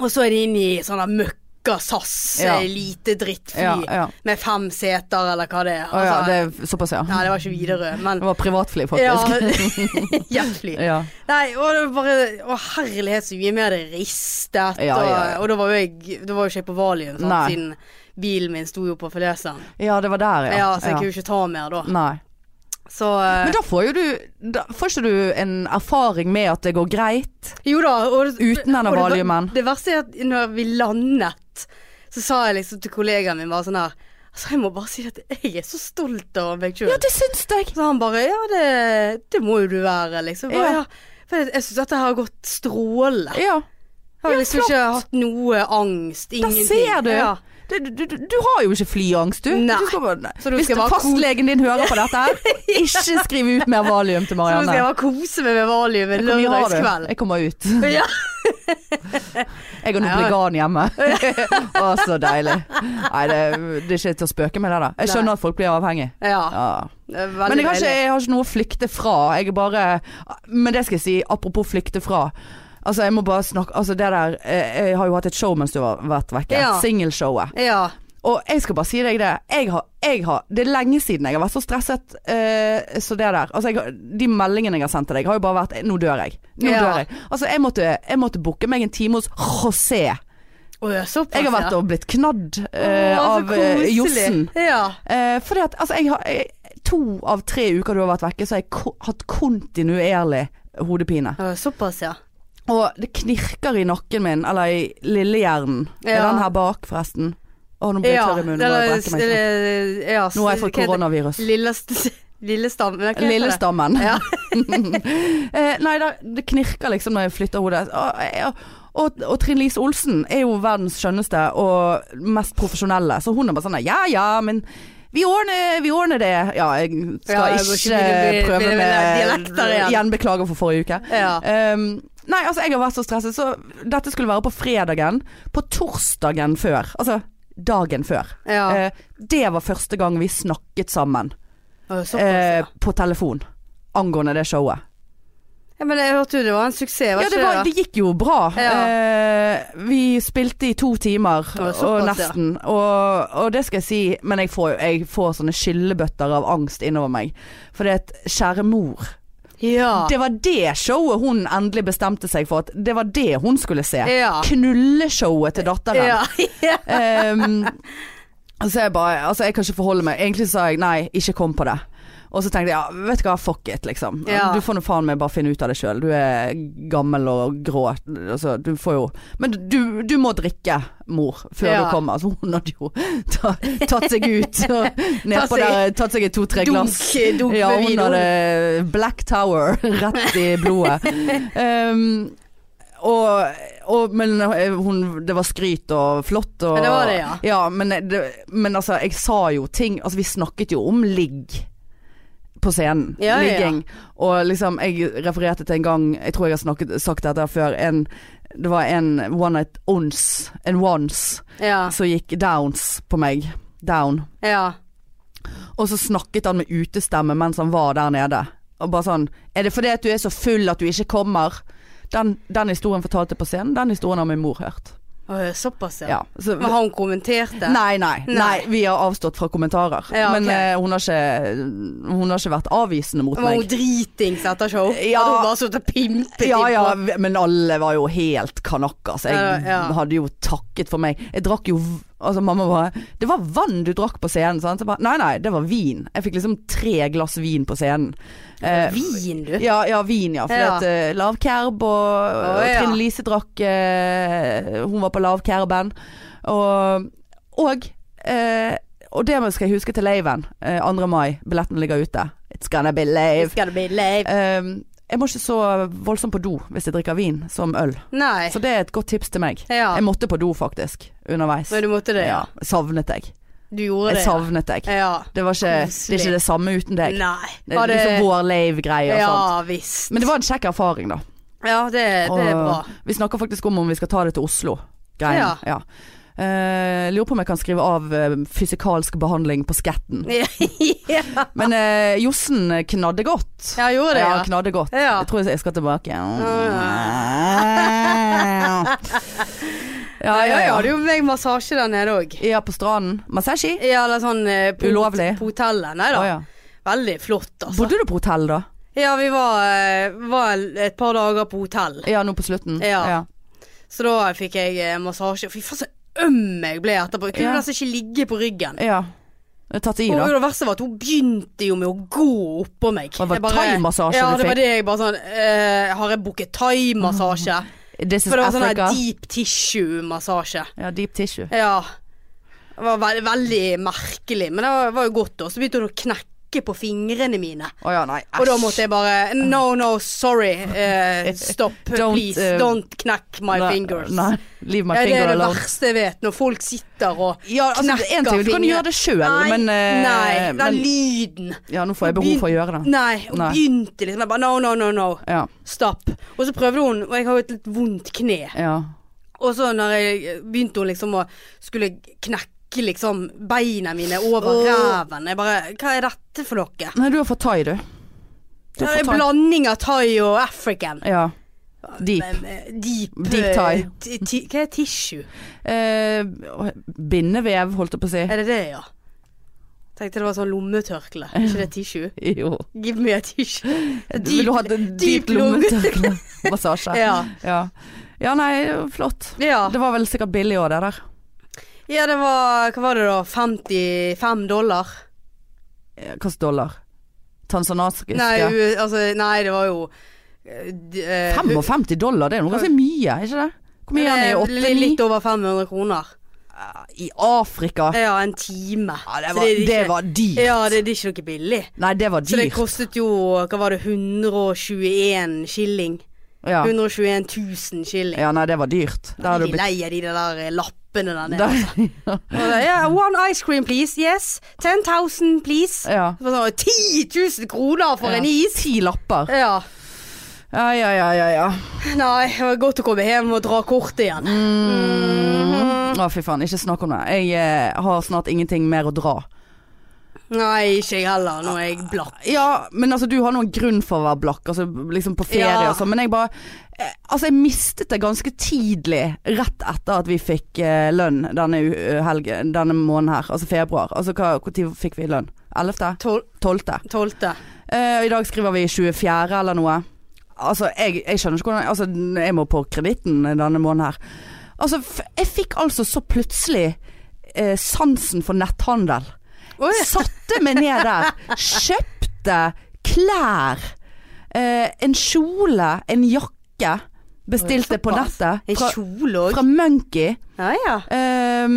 [SPEAKER 2] Og så er de inne i sånne møkka SAS,
[SPEAKER 1] Ja.
[SPEAKER 2] eh, lite drittfly
[SPEAKER 1] Ja, ja.
[SPEAKER 2] med fem seter eller hva det er.
[SPEAKER 1] Å ja,
[SPEAKER 2] Altså,
[SPEAKER 1] det er såpass, ja.
[SPEAKER 2] Nei, det var ikke Widerøe, men
[SPEAKER 1] Det var privatfly, faktisk.
[SPEAKER 2] Ja, Hjertefly.
[SPEAKER 1] [laughs] Ja.
[SPEAKER 2] Nei, og det var bare Å herlighet så mye mer det ristet.
[SPEAKER 1] Ja, ja, ja.
[SPEAKER 2] Og, og da var jo jeg Da var jo ikke jeg på Valium, sant,
[SPEAKER 1] Nei.
[SPEAKER 2] siden bilen min sto jo på forleseren.
[SPEAKER 1] Ja, det var der,
[SPEAKER 2] Ja,
[SPEAKER 1] ja.
[SPEAKER 2] så jeg kunne jo ikke ta mer da.
[SPEAKER 1] Nei.
[SPEAKER 2] Så eh,
[SPEAKER 1] Men da får jo du da Får ikke du en erfaring med at det går greit?
[SPEAKER 2] Jo da. Og,
[SPEAKER 1] Uten denne
[SPEAKER 2] og det ver-
[SPEAKER 1] valiumen.
[SPEAKER 2] Det verste er at når vi landet, så sa jeg liksom til kollegaen min bare sånn her Altså, jeg må bare si at jeg er så stolt av meg sjøl.
[SPEAKER 1] Ja, det syns jeg!
[SPEAKER 2] Så han bare Ja, det, det må jo du være, liksom. Bare,
[SPEAKER 1] Ja.
[SPEAKER 2] ja. For jeg, jeg syns dette her har gått strålende.
[SPEAKER 1] Ja.
[SPEAKER 2] Jeg har
[SPEAKER 1] Ja,
[SPEAKER 2] liksom ikke hatt noe angst.
[SPEAKER 1] Der
[SPEAKER 2] Ingenting.
[SPEAKER 1] ser du.
[SPEAKER 2] Ja.
[SPEAKER 1] Du, du, du, du har jo ikke flyangst, du.
[SPEAKER 2] Nei.
[SPEAKER 1] du skal bare, nei.
[SPEAKER 2] Så du
[SPEAKER 1] Hvis
[SPEAKER 2] skal bare
[SPEAKER 1] fastlegen din hører på dette
[SPEAKER 2] [laughs]
[SPEAKER 1] her, ikke skriv ut mer valium til
[SPEAKER 2] Så nå skal jeg
[SPEAKER 1] Marianne.
[SPEAKER 2] bare kose meg med valium en
[SPEAKER 1] Hvor mye har du?
[SPEAKER 2] lørdagskveld.
[SPEAKER 1] Jeg kommer ut.
[SPEAKER 2] Ja.
[SPEAKER 1] [laughs] Jeg har nå
[SPEAKER 2] Nei,
[SPEAKER 1] plegan
[SPEAKER 2] [laughs]
[SPEAKER 1] hjemme. Å, så deilig. Nei, det, det er ikke til å spøke med det der. Jeg
[SPEAKER 2] Nei.
[SPEAKER 1] skjønner at folk blir avhengig.
[SPEAKER 2] ja.
[SPEAKER 1] Ja.
[SPEAKER 2] det er veldig
[SPEAKER 1] Men jeg har, ikke,
[SPEAKER 2] deilig.
[SPEAKER 1] jeg har ikke noe å flykte fra. Jeg er bare Men det skal jeg si, apropos flykte fra. Altså, jeg må bare snakke Altså, det der eh, Jeg har jo hatt et show mens du har vært vekke.
[SPEAKER 2] Ja.
[SPEAKER 1] Singelshowet.
[SPEAKER 2] Ja.
[SPEAKER 1] Og jeg skal bare si deg det. Jeg har, jeg har, det er lenge siden jeg har vært så stresset eh, så det der. Altså, jeg, har- de meldingene jeg har sendt til deg, har jo bare vært Nå dør jeg. Nå
[SPEAKER 2] Ja.
[SPEAKER 1] dør jeg. Altså, jeg måtte, jeg måtte booke meg en time hos José.
[SPEAKER 2] Å, ja, såpass,
[SPEAKER 1] Jeg har vært
[SPEAKER 2] ja.
[SPEAKER 1] og blitt knadd eh,
[SPEAKER 2] Å, så
[SPEAKER 1] av eh,
[SPEAKER 2] koselig.
[SPEAKER 1] Jossen.
[SPEAKER 2] Ja.
[SPEAKER 1] Eh, fordi at altså, jeg har jeg, To av tre uker du har vært vekke, så har jeg ko hatt kontinuerlig hodepine.
[SPEAKER 2] Å, Såpass, ja.
[SPEAKER 1] Og det knirker i nakken min, eller i lillehjernen. Er
[SPEAKER 2] Ja.
[SPEAKER 1] den her bak, forresten? Å, nå blir jeg
[SPEAKER 2] ja.
[SPEAKER 1] tørr i munnen. bare jeg brekker meg sånn.
[SPEAKER 2] det- ja,
[SPEAKER 1] Nå har jeg fått
[SPEAKER 2] hva heter det?
[SPEAKER 1] koronavirus.
[SPEAKER 2] [laughs] Lilleste Lillestammen? hva heter det?
[SPEAKER 1] Lillestammen.
[SPEAKER 2] Ja.
[SPEAKER 1] [laughs] Eh, nei, da, det knirker liksom når jeg flytter hodet. Og, jeg- og, og Trine Lise Olsen er jo verdens skjønneste og mest profesjonelle, så hun er bare sånn Ja ja, men vi ordner, vi ordner det. Ja, jeg skal
[SPEAKER 2] Ja, jeg må
[SPEAKER 1] ikke
[SPEAKER 2] ikke bli- bli-
[SPEAKER 1] prøve
[SPEAKER 2] bli- bli-
[SPEAKER 1] med
[SPEAKER 2] dialekter igjen.
[SPEAKER 1] Igjen beklager for forrige uke.
[SPEAKER 2] Ja.
[SPEAKER 1] Ehm, nei, altså jeg har vært så stresset, så dette skulle være på fredagen. På torsdagen før. Altså dagen før.
[SPEAKER 2] ja.
[SPEAKER 1] Eh, det var første gang vi snakket sammen eh,
[SPEAKER 2] Å, Såpass, ja.
[SPEAKER 1] på telefon angående det showet.
[SPEAKER 2] ja. Men jeg hørte jo det var en suksess, var
[SPEAKER 1] Ja, det,
[SPEAKER 2] ikke
[SPEAKER 1] var, det gikk jo bra.
[SPEAKER 2] Ja.
[SPEAKER 1] Eh, vi spilte i to timer,
[SPEAKER 2] var såpass,
[SPEAKER 1] og
[SPEAKER 2] ja.
[SPEAKER 1] nesten. Og, og det skal jeg si, men jeg får, jeg får sånne skyllebøtter av angst innover meg. For det er et kjære mor.
[SPEAKER 2] Ja.
[SPEAKER 1] Det var det showet hun endelig bestemte seg for at det var det hun skulle se.
[SPEAKER 2] Ja.
[SPEAKER 1] Knulleshowet til datteren.
[SPEAKER 2] ja. ja. [laughs]
[SPEAKER 1] Ehm, så jeg bare Altså, jeg kan ikke forholde meg. Egentlig sa jeg nei, ikke kom på det. Og så tenkte jeg ja, vet du hva, fuck it, liksom.
[SPEAKER 2] Ja.
[SPEAKER 1] Du får nå faen meg bare finne ut av det sjøl. Du er gammel og grå. Altså, du får jo Men du, du må drikke, mor, før
[SPEAKER 2] Ja.
[SPEAKER 1] du kommer. Så hun hadde jo ta, tatt seg ut
[SPEAKER 2] [laughs]
[SPEAKER 1] og ned
[SPEAKER 2] Tatt
[SPEAKER 1] på
[SPEAKER 2] seg-
[SPEAKER 1] der, tatt seg et to-tre glass.
[SPEAKER 2] Dunk, dunk
[SPEAKER 1] Ja,
[SPEAKER 2] med
[SPEAKER 1] hun
[SPEAKER 2] vin.
[SPEAKER 1] hadde Black Tower [laughs] rett i blodet. Ehm, og, og, men eh, hun, det var skryt og flott. Og,
[SPEAKER 2] Ja, det var det, ja.
[SPEAKER 1] men, eh, det, men altså, jeg sa jo ting Altså, vi snakket jo om ligg på scenen.
[SPEAKER 2] Ja, ja, ja.
[SPEAKER 1] Ligging. Og liksom, jeg refererte til en gang Jeg tror jeg har snakket, sagt dette her før. En, det var en one night ons, en once,
[SPEAKER 2] Ja.
[SPEAKER 1] som gikk downs på meg. Down.
[SPEAKER 2] ja.
[SPEAKER 1] Og så snakket han med utestemme mens han var der nede. Og bare sånn Er det fordi at du er så full at du ikke kommer? Den, den historien fortalte jeg på scenen. Den historien har min mor hørt.
[SPEAKER 2] Å, ja, såpass, ja.
[SPEAKER 1] Ja, så,
[SPEAKER 2] Men har hun kommentert det?
[SPEAKER 1] nei, nei, nei.
[SPEAKER 2] Nei.
[SPEAKER 1] Vi har avstått fra kommentarer.
[SPEAKER 2] Ja, ok.
[SPEAKER 1] Men eh, hun, har ikke, hun har ikke vært avvisende mot
[SPEAKER 2] Var hun
[SPEAKER 1] meg.
[SPEAKER 2] dritings etter show?
[SPEAKER 1] Ja.
[SPEAKER 2] Hadde hun bare sittet og pimpet
[SPEAKER 1] Ja
[SPEAKER 2] inn
[SPEAKER 1] ja,
[SPEAKER 2] på-
[SPEAKER 1] men alle var jo helt kanakker, så jeg
[SPEAKER 2] Ja, ja.
[SPEAKER 1] hadde jo takket for meg. Jeg drakk jo v- Altså, mamma bare 'Det var vann du drakk på scenen', sant? Jeg bare, nei, nei, det var vin. Jeg fikk liksom tre glass vin på scenen. Eh,
[SPEAKER 2] Vin, du.
[SPEAKER 1] Ja, ja, vin, ja. For
[SPEAKER 2] Ja.
[SPEAKER 1] at eh, lavkerb og, og
[SPEAKER 2] ja.
[SPEAKER 1] Trine Lise drakk eh, Hun var på lavkerben. Og, og, eh, og det skal jeg huske til laven. eh, 2. mai. Billetten ligger ute. It's gonna be lave.
[SPEAKER 2] Skal det bli lave?
[SPEAKER 1] Ehm, jeg må ikke så voldsomt på do hvis jeg drikker vin som øl.
[SPEAKER 2] Nei.
[SPEAKER 1] Så det er et godt tips til meg.
[SPEAKER 2] Ja.
[SPEAKER 1] Jeg måtte på do faktisk, underveis.
[SPEAKER 2] Men du måtte det, ja.
[SPEAKER 1] Ja, savnet deg.
[SPEAKER 2] Du gjorde det.
[SPEAKER 1] Jeg savnet deg.
[SPEAKER 2] Ja.
[SPEAKER 1] Det, var ikke, det
[SPEAKER 2] Koselig.
[SPEAKER 1] er ikke det samme uten
[SPEAKER 2] ja.
[SPEAKER 1] deg.
[SPEAKER 2] Nei.
[SPEAKER 1] Det er
[SPEAKER 2] Var det
[SPEAKER 1] liksom vår lave-greie og sånt.
[SPEAKER 2] Ja visst.
[SPEAKER 1] Men det var en kjekk erfaring, da.
[SPEAKER 2] Ja, det, det er
[SPEAKER 1] Og
[SPEAKER 2] bra. [laughs]
[SPEAKER 1] Vi snakker faktisk om om vi skal ta det til Oslo. Ja.
[SPEAKER 2] Ja.
[SPEAKER 1] Ja. Eh, lurer på om jeg kan skrive av eh, fysikalsk behandling på skatten.
[SPEAKER 2] ja.
[SPEAKER 1] Men eh, Jossen knadde godt.
[SPEAKER 2] ja, gjorde det,
[SPEAKER 1] Ja,
[SPEAKER 2] ja.
[SPEAKER 1] knadde godt.
[SPEAKER 2] Ja.
[SPEAKER 1] Jeg tror jeg skal tilbake.
[SPEAKER 2] Ja, ja, ja.
[SPEAKER 1] [laughs] ja.
[SPEAKER 2] Det gjorde meg massasje der nede òg.
[SPEAKER 1] Ja, på stranden. Masashi?
[SPEAKER 2] Ja, eller sånn eh, på,
[SPEAKER 1] Ulovlig.
[SPEAKER 2] På hotellet. Nei da.
[SPEAKER 1] Å, ja.
[SPEAKER 2] Veldig flott, altså.
[SPEAKER 1] Bodde du på hotell da?
[SPEAKER 2] Ja, vi var, eh, var et par dager på hotell.
[SPEAKER 1] Ja, nå på slutten.
[SPEAKER 2] Ja. Så da fikk jeg eh, massasje. Fy faen, så øm jeg ble etterpå. Jeg kunne
[SPEAKER 1] Ja.
[SPEAKER 2] nesten ikke ligge på ryggen.
[SPEAKER 1] ja. Jeg har Tatt i,
[SPEAKER 2] Og
[SPEAKER 1] da.
[SPEAKER 2] det verste var at hun begynte jo med å gå oppå meg.
[SPEAKER 1] Og det var
[SPEAKER 2] Jeg bare-
[SPEAKER 1] thaimassasje
[SPEAKER 2] Ja,
[SPEAKER 1] du
[SPEAKER 2] det var
[SPEAKER 1] fikk?
[SPEAKER 2] det jeg bare sånn eh, Har jeg booket thaimassasje?
[SPEAKER 1] Mm. This is
[SPEAKER 2] For det var sånn
[SPEAKER 1] Africa.
[SPEAKER 2] her deep tissue-massasje.
[SPEAKER 1] Ja, deep tissue.
[SPEAKER 2] Ja. Det var ve veldig merkelig, men det var, var jo godt. Og så begynte hun å knekke på fingrene mine.
[SPEAKER 1] Å ja, nei.
[SPEAKER 2] Og da måtte jeg bare No, no, sorry.
[SPEAKER 1] [laughs]
[SPEAKER 2] eh, stop,
[SPEAKER 1] Don't,
[SPEAKER 2] please.
[SPEAKER 1] eh,
[SPEAKER 2] don't knack my fingers.
[SPEAKER 1] Nei, leave my
[SPEAKER 2] ja, det
[SPEAKER 1] finger
[SPEAKER 2] er det
[SPEAKER 1] alone.
[SPEAKER 2] verste jeg vet, når folk sitter og
[SPEAKER 1] Ja, altså,
[SPEAKER 2] knekker
[SPEAKER 1] en ting, du kan
[SPEAKER 2] fingre.
[SPEAKER 1] gjøre det sjøl,
[SPEAKER 2] Nei,
[SPEAKER 1] men, eh,
[SPEAKER 2] nei, den
[SPEAKER 1] men
[SPEAKER 2] lyden.
[SPEAKER 1] Ja, nå får jeg behov for å gjøre det.
[SPEAKER 2] Nei, hun
[SPEAKER 1] Nei.
[SPEAKER 2] begynte liksom jeg bare, No, no, no, no.
[SPEAKER 1] Ja.
[SPEAKER 2] Stopp. Og så prøvde hun, og jeg har jo et litt vondt kne.
[SPEAKER 1] ja.
[SPEAKER 2] Og så når jeg begynte hun liksom å skulle knekke liksom beina mine over
[SPEAKER 1] Åh.
[SPEAKER 2] ræven. Jeg bare Hva er dette for noe?
[SPEAKER 1] Nei, du har fått thai, du. Du
[SPEAKER 2] Det
[SPEAKER 1] har
[SPEAKER 2] er
[SPEAKER 1] fått
[SPEAKER 2] en
[SPEAKER 1] thai.
[SPEAKER 2] blanding av thai og african.
[SPEAKER 1] Ja. Deep.
[SPEAKER 2] Men, eh, Deep,
[SPEAKER 1] Deep
[SPEAKER 2] eh,
[SPEAKER 1] thai.
[SPEAKER 2] ti- ti- Hva er tissue?
[SPEAKER 1] Eh, bindevev, holdt jeg på å si.
[SPEAKER 2] [laughs] Er det det, ja? Tenkte det var sånn lommetørkle. Ikke det tissue?
[SPEAKER 1] Jo.
[SPEAKER 2] Give me a tissue.
[SPEAKER 1] Vil [laughs] du ha et dypt
[SPEAKER 2] [laughs]
[SPEAKER 1] lommetørklemassasje?
[SPEAKER 2] Ja.
[SPEAKER 1] ja. Ja, nei, flott.
[SPEAKER 2] Ja.
[SPEAKER 1] Det var vel sikkert billig òg, det der.
[SPEAKER 2] ja, det var Hva var det da? 55 dollar?
[SPEAKER 1] Eh, Hva slags dollar? Tanzanasiske?
[SPEAKER 2] Nei, u- altså, nei, det var jo eh, d- eh,
[SPEAKER 1] 55 dollar, det er jo ganske mye, er ikke det? Hvor mye er den i
[SPEAKER 2] eh, Litt
[SPEAKER 1] 89?
[SPEAKER 2] over 500 kroner.
[SPEAKER 1] i Afrika.
[SPEAKER 2] Ja, en time.
[SPEAKER 1] Ja, det
[SPEAKER 2] Så
[SPEAKER 1] var,
[SPEAKER 2] er
[SPEAKER 1] det
[SPEAKER 2] ikke-
[SPEAKER 1] var dyrt.
[SPEAKER 2] Ja, det er ikke noe billig.
[SPEAKER 1] Nei, det var
[SPEAKER 2] Så det
[SPEAKER 1] dyrt.
[SPEAKER 2] kostet jo hva var det, 121 shilling.
[SPEAKER 1] Ja.
[SPEAKER 2] 121 000 shilling.
[SPEAKER 1] ja, nei, det var dyrt. Det hadde
[SPEAKER 2] de
[SPEAKER 1] du blitt
[SPEAKER 2] leier de der eh, lappene der nede.
[SPEAKER 1] Da-
[SPEAKER 2] Og det, ja, one ice cream, please. Yes. 10.000, please.
[SPEAKER 1] [laughs] Ja.
[SPEAKER 2] Så var det sånn, 10 000 kroner for
[SPEAKER 1] Ja.
[SPEAKER 2] en is!
[SPEAKER 1] Ti lapper.
[SPEAKER 2] Ja.
[SPEAKER 1] Ja, ja, ja, ja. ja.
[SPEAKER 2] Nei, det var godt å komme hjem og dra kortet igjen.
[SPEAKER 1] Mm.
[SPEAKER 2] Mhm.
[SPEAKER 1] Å, fy faen. Ikke snakk om det. Jeg eh, har snart ingenting mer å dra.
[SPEAKER 2] Nei, ikke jeg heller. Nå er jeg blakk.
[SPEAKER 1] Ja, men altså du har noen grunn for å være blakk, altså liksom på ferie
[SPEAKER 2] Ja.
[SPEAKER 1] og sånn, men jeg bare eh, Altså jeg mistet det ganske tidlig, rett etter at vi fikk eh, lønn denne u- eh, helgen, denne måneden her, altså februar. Altså hva, hvor tid fikk vi lønn? 11.?
[SPEAKER 2] Tol-
[SPEAKER 1] 12.?
[SPEAKER 2] Tolvte.
[SPEAKER 1] Eh, I dag skriver vi 24. eller noe. Altså, jeg, jeg skjønner ikke hvordan Altså, jeg må på kreditten denne måneden her. Altså, f jeg fikk altså så plutselig eh, sansen for netthandel.
[SPEAKER 2] Oi. [laughs]
[SPEAKER 1] Satte meg ned der, kjøpte klær, eh, en kjole, en jakke. Bestilte på
[SPEAKER 2] Såpass.
[SPEAKER 1] nettet.
[SPEAKER 2] En
[SPEAKER 1] Fra,
[SPEAKER 2] kjole òg.
[SPEAKER 1] fra Monkey.
[SPEAKER 2] Ja, ja.
[SPEAKER 1] Ehm,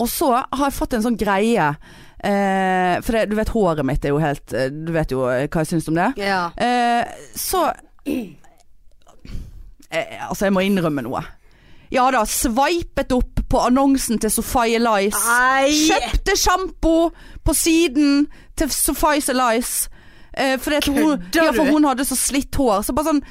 [SPEAKER 1] og så har jeg fått en sånn greie eh, For det, du vet håret mitt er jo helt eh, Du vet jo eh, hva jeg syns om det.
[SPEAKER 2] ja.
[SPEAKER 1] Eh, så eh, Altså, jeg må innrømme noe. Ja da, sveipet opp på annonsen til Sophie Elice.
[SPEAKER 2] Nei!
[SPEAKER 1] Kjøpte sjampo på siden til Sophie Elice. Eh, for, det at hun,
[SPEAKER 2] Kødder
[SPEAKER 1] ja, for
[SPEAKER 2] du?
[SPEAKER 1] hun hadde så slitt hår. Så bare sånn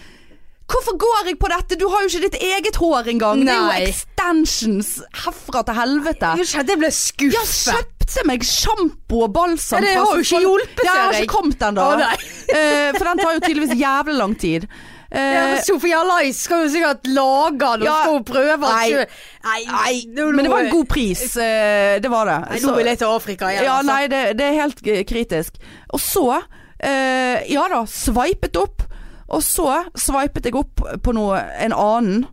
[SPEAKER 1] Hvorfor går jeg på dette? Du har jo ikke ditt eget hår engang. Det er
[SPEAKER 2] Nei.
[SPEAKER 1] jo extensions herfra til helvete.
[SPEAKER 2] Jeg kjente jeg ble
[SPEAKER 1] Jeg
[SPEAKER 2] skuffet.
[SPEAKER 1] kjøpte meg sjampo og balsam
[SPEAKER 2] Ja, det
[SPEAKER 1] fra
[SPEAKER 2] har jo ikke
[SPEAKER 1] Sophie-
[SPEAKER 2] hjulpet,
[SPEAKER 1] Ja, Jeg
[SPEAKER 2] ser
[SPEAKER 1] har
[SPEAKER 2] jeg.
[SPEAKER 1] ikke kommet ennå.
[SPEAKER 2] Å, nei.
[SPEAKER 1] [laughs] Eh, for den tar jo tydeligvis jævlig lang tid. Eh,
[SPEAKER 2] Ja, men Sofie Alice skal jo sikkert lage den og
[SPEAKER 1] Ja.
[SPEAKER 2] skal hun prøve den
[SPEAKER 1] Nei.
[SPEAKER 2] selv. Nei, nå-
[SPEAKER 1] men det var en god pris. eh, det var det.
[SPEAKER 2] Nei,
[SPEAKER 1] Så-
[SPEAKER 2] nå vil jeg til Afrika igjen.
[SPEAKER 1] Ja,
[SPEAKER 2] altså.
[SPEAKER 1] nei, det, det er helt eh, kritisk. Og så eh, Ja da, sveipet opp. Og så sveipet jeg opp på noe, en annen.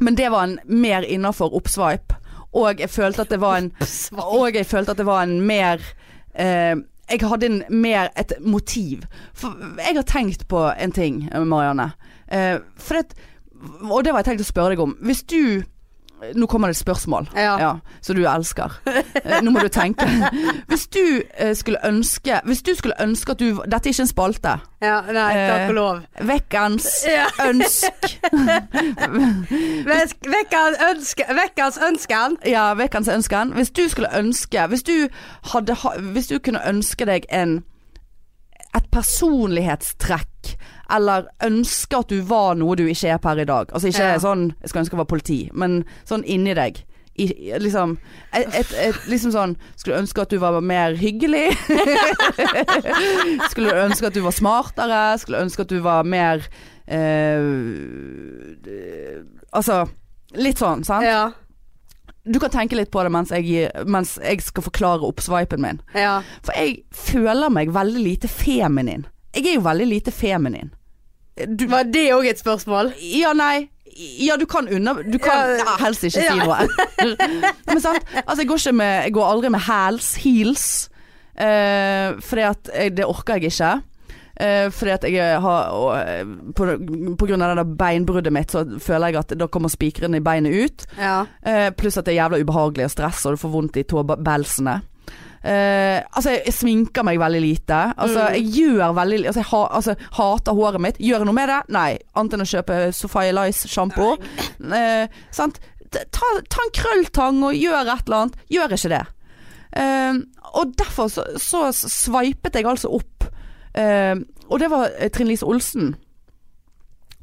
[SPEAKER 1] Men det var en mer innafor oppsveip. Og jeg følte at det var en Og jeg følte at det var en mer eh, Jeg hadde en mer et motiv. For jeg har tenkt på en ting, Marianne. Eh, for det, og det var jeg tenkt å spørre deg om. Hvis du Nå kommer det et spørsmål
[SPEAKER 2] Ja.
[SPEAKER 1] ja, så du elsker. Eh, Nå må du tenke. Hvis du eh, skulle ønske Hvis du skulle ønske at du Dette er ikke en spalte.
[SPEAKER 2] Ja, nei, takk
[SPEAKER 1] Eh,
[SPEAKER 2] og lov.
[SPEAKER 1] Vekkens
[SPEAKER 2] Ja.
[SPEAKER 1] ønsk
[SPEAKER 2] Vekk- Vekkens ønske, vekkens ønsken.
[SPEAKER 1] Ja, vekkens ønsken. Hvis du skulle ønske Hvis du hadde ha- Hvis du kunne ønske deg en Et personlighetstrekk eller ønske at du var noe du ikke er per i dag. Altså ikke
[SPEAKER 2] Ja.
[SPEAKER 1] sånn Jeg skulle ønske jeg var politi, men sånn inni deg. I, i- liksom, et, et, et, liksom sånn Skulle ønske at du var mer hyggelig. [laughs] skulle ønske at du var smartere. Skulle ønske at du var mer eh, d- Altså litt sånn, sant?
[SPEAKER 2] Ja,
[SPEAKER 1] Du kan tenke litt på det mens jeg, gir- mens jeg skal forklare oppsveipen min.
[SPEAKER 2] ja.
[SPEAKER 1] For jeg føler meg veldig lite feminin. Jeg er jo veldig lite feminin. Du,
[SPEAKER 2] Var det òg et spørsmål?
[SPEAKER 1] ja, nei. Ja, du kan under... Du kan
[SPEAKER 2] Ja.
[SPEAKER 1] ja, helst ikke si
[SPEAKER 2] Ja. [laughs]
[SPEAKER 1] noe. Men sant? Altså, jeg går, ikke med, jeg går aldri med hæls, heels. Uh, fordi at jeg, det orker jeg ikke. Eh, fordi at jeg har og, eh, på, på grunn av det der beinbruddet mitt, så føler jeg at da kommer spikrene i beinet ut.
[SPEAKER 2] Ja.
[SPEAKER 1] Eh, pluss at det er jævla ubehagelig og stress, og du får vondt i tåbelsene. Eh, altså, jeg, jeg sminker meg veldig lite. Altså, Jeg gjør veldig altså, Jeg ha, altså, hater håret mitt. Gjør jeg noe med det? Nei. Annet enn å kjøpe Sophie Lice-sjampo. Eh, sant? Ta, ta en krølltang og gjør et eller annet. Gjør jeg ikke det. Eh, og derfor så, så sveipet jeg altså opp. Eh, og det var eh, Trine Lise Olsen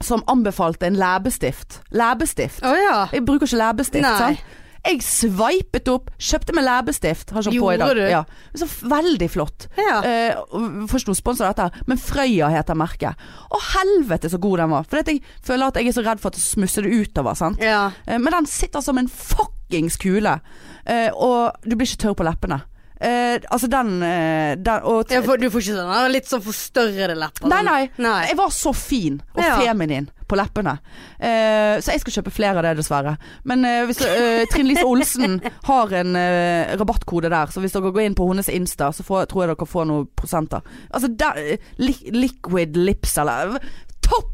[SPEAKER 1] som anbefalte en læbestift. Læbestift.
[SPEAKER 2] Å ja.
[SPEAKER 1] Jeg bruker ikke læbestift,
[SPEAKER 2] Nei.
[SPEAKER 1] sant? Jeg sveipet opp, kjøpte meg læbestift. Har ikke på i dag.
[SPEAKER 2] Gjorde du?
[SPEAKER 1] Ja. Så veldig flott.
[SPEAKER 2] Ja.
[SPEAKER 1] Eh, og Får ikke noe spons av dette, her, men Frøya heter merket. Å helvete så god den var. For jeg føler at jeg er så redd for at det smusser det utover. Sant?
[SPEAKER 2] ja.
[SPEAKER 1] Eh, Men den sitter som en fuckings kule. Eh, Og du blir ikke tørr på leppene. Eh, altså den, eh, den og
[SPEAKER 2] Ja, for, du får ikke sånn ah, litt sånn forstørrede lepper?
[SPEAKER 1] Nei, nei.
[SPEAKER 2] sånn. nei.
[SPEAKER 1] Jeg var så fin og
[SPEAKER 2] Ja.
[SPEAKER 1] feminin på leppene. Eh, så jeg skal kjøpe flere av det, dessverre. Men eh, hvis, eh, Trine Lise
[SPEAKER 2] [laughs]
[SPEAKER 1] Olsen har en eh, rabattkode der, så hvis dere går inn på hennes Insta, så får, tror jeg dere får noen prosenter. Altså der, eh, li liquid lips eller Topp!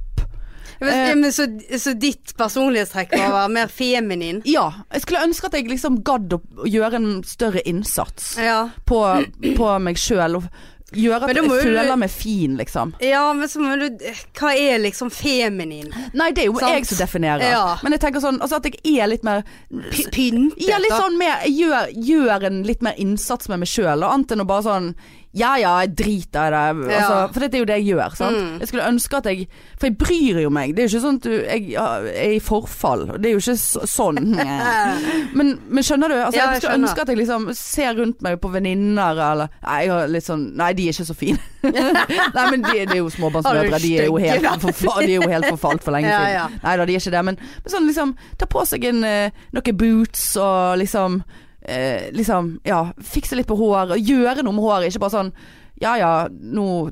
[SPEAKER 2] Men,
[SPEAKER 1] Eh.
[SPEAKER 2] ja, men så, så ditt personlighetstrekk var å være mer feminin?
[SPEAKER 1] Ja. Jeg skulle ønske at jeg liksom gadd å å gjøre en større innsats
[SPEAKER 2] Ja.
[SPEAKER 1] på, på meg sjøl. Og gjøre
[SPEAKER 2] Men
[SPEAKER 1] at
[SPEAKER 2] da
[SPEAKER 1] jeg
[SPEAKER 2] må jo du-
[SPEAKER 1] føler meg fin, liksom.
[SPEAKER 2] ja, men så må du Hva er liksom feminin?
[SPEAKER 1] Nei, det er jo
[SPEAKER 2] Sant.
[SPEAKER 1] jeg som definerer.
[SPEAKER 2] Ja.
[SPEAKER 1] Men jeg tenker sånn altså at jeg er litt mer
[SPEAKER 2] Py- Pyntet?
[SPEAKER 1] Ja, litt
[SPEAKER 2] da?
[SPEAKER 1] sånn mer jeg gjør, gjør en litt mer innsats med meg sjøl, og annet enn å bare sånn Ja ja, jeg driter i det. Altså,
[SPEAKER 2] Ja.
[SPEAKER 1] For dette er jo det jeg gjør. Sant?
[SPEAKER 2] Mm.
[SPEAKER 1] Jeg skulle ønske at jeg For jeg bryr jo meg. Det er jo ikke sånn at du jeg, ja, er i forfall. Det er jo ikke så, sånn.
[SPEAKER 2] [laughs] Eh,
[SPEAKER 1] Men, men skjønner du? Altså,
[SPEAKER 2] Ja,
[SPEAKER 1] jeg
[SPEAKER 2] jeg
[SPEAKER 1] skulle
[SPEAKER 2] skjønner.
[SPEAKER 1] ønske at jeg liksom ser rundt meg på venninner eller Nei, jeg har litt sånn Nei, de er ikke så
[SPEAKER 2] [laughs]
[SPEAKER 1] fine. nei, men de, de er jo
[SPEAKER 2] Har
[SPEAKER 1] småbarnsmødre.
[SPEAKER 2] du
[SPEAKER 1] De er jo
[SPEAKER 2] stygge
[SPEAKER 1] helt, forfa- de er jo helt forfalt for lenge
[SPEAKER 2] Ja,
[SPEAKER 1] siden.
[SPEAKER 2] ja.
[SPEAKER 1] Nei da, de er ikke det. Men, men sånn liksom Ta på seg en, eh, noen boots og liksom eh, Liksom, ja. Fikse litt på håret. og Gjøre noe med håret. Ikke bare sånn ja ja, nå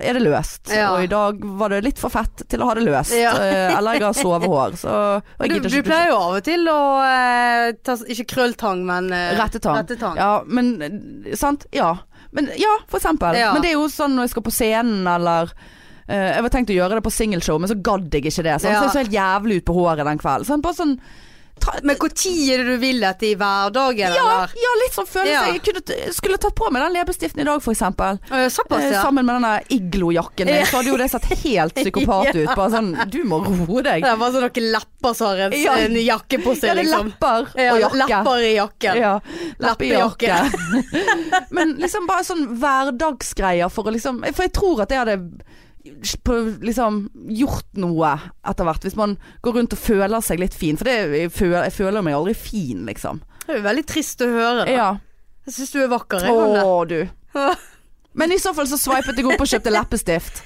[SPEAKER 1] er det løst.
[SPEAKER 2] Ja.
[SPEAKER 1] Og i dag var det litt for fett til å ha det løst.
[SPEAKER 2] Ja.
[SPEAKER 1] Eh, eller jeg har sovehår, så og jeg
[SPEAKER 2] Du,
[SPEAKER 1] gidder
[SPEAKER 2] du
[SPEAKER 1] ikke dusje.
[SPEAKER 2] pleier jo av og til å eh, ta, Ikke krølltang, men eh,
[SPEAKER 1] Rettetang.
[SPEAKER 2] rettetang.
[SPEAKER 1] Ja, men eh, Sant? Ja. Men, ja, for eksempel.
[SPEAKER 2] Ja.
[SPEAKER 1] Men det er jo sånn når jeg skal på scenen eller eh, Jeg var tenkt å gjøre det på singelshow, men så gadd jeg ikke det. Sant?
[SPEAKER 2] Ja.
[SPEAKER 1] Så jeg så helt jævlig ut på håret den kvelden. Sånn, bare sånn ta,
[SPEAKER 2] Men når er det du vil dette i hverdagen,
[SPEAKER 1] ja,
[SPEAKER 2] eller?
[SPEAKER 1] ja, litt sånn følelse.
[SPEAKER 2] Ja.
[SPEAKER 1] Jeg kunne, t- skulle tatt på meg den leppestiften i dag, for eksempel.
[SPEAKER 2] Å, ja, Såpass,
[SPEAKER 1] Eh,
[SPEAKER 2] ja.
[SPEAKER 1] Sammen med denne iglojakken min,
[SPEAKER 2] Ja.
[SPEAKER 1] så hadde jo det sett helt
[SPEAKER 2] [laughs]
[SPEAKER 1] psykopat ut. Bare sånn Du må roe
[SPEAKER 2] Det
[SPEAKER 1] deg.
[SPEAKER 2] er bare sånn noen lepper som har en,
[SPEAKER 1] Ja.
[SPEAKER 2] en jakke på
[SPEAKER 1] Ja,
[SPEAKER 2] seg,
[SPEAKER 1] det er
[SPEAKER 2] liksom.
[SPEAKER 1] lepper
[SPEAKER 2] Ja,
[SPEAKER 1] og jakke.
[SPEAKER 2] Lepper i jakken.
[SPEAKER 1] Ja,
[SPEAKER 2] Lappejakke.
[SPEAKER 1] lappejakke. [laughs] Men liksom bare sånn hverdagsgreier for å liksom For jeg tror at jeg hadde på, liksom gjort noe etter hvert, hvis man går rundt og føler seg litt fin. For det, jeg, føler, jeg føler meg aldri fin, liksom.
[SPEAKER 2] Det er jo veldig trist å høre. Da.
[SPEAKER 1] Ja.
[SPEAKER 2] Jeg syns du er vakker. Jeg, Hanne.
[SPEAKER 1] Å, du.
[SPEAKER 2] [laughs]
[SPEAKER 1] Men i så fall så sveipet jeg opp og kjøpte leppestift.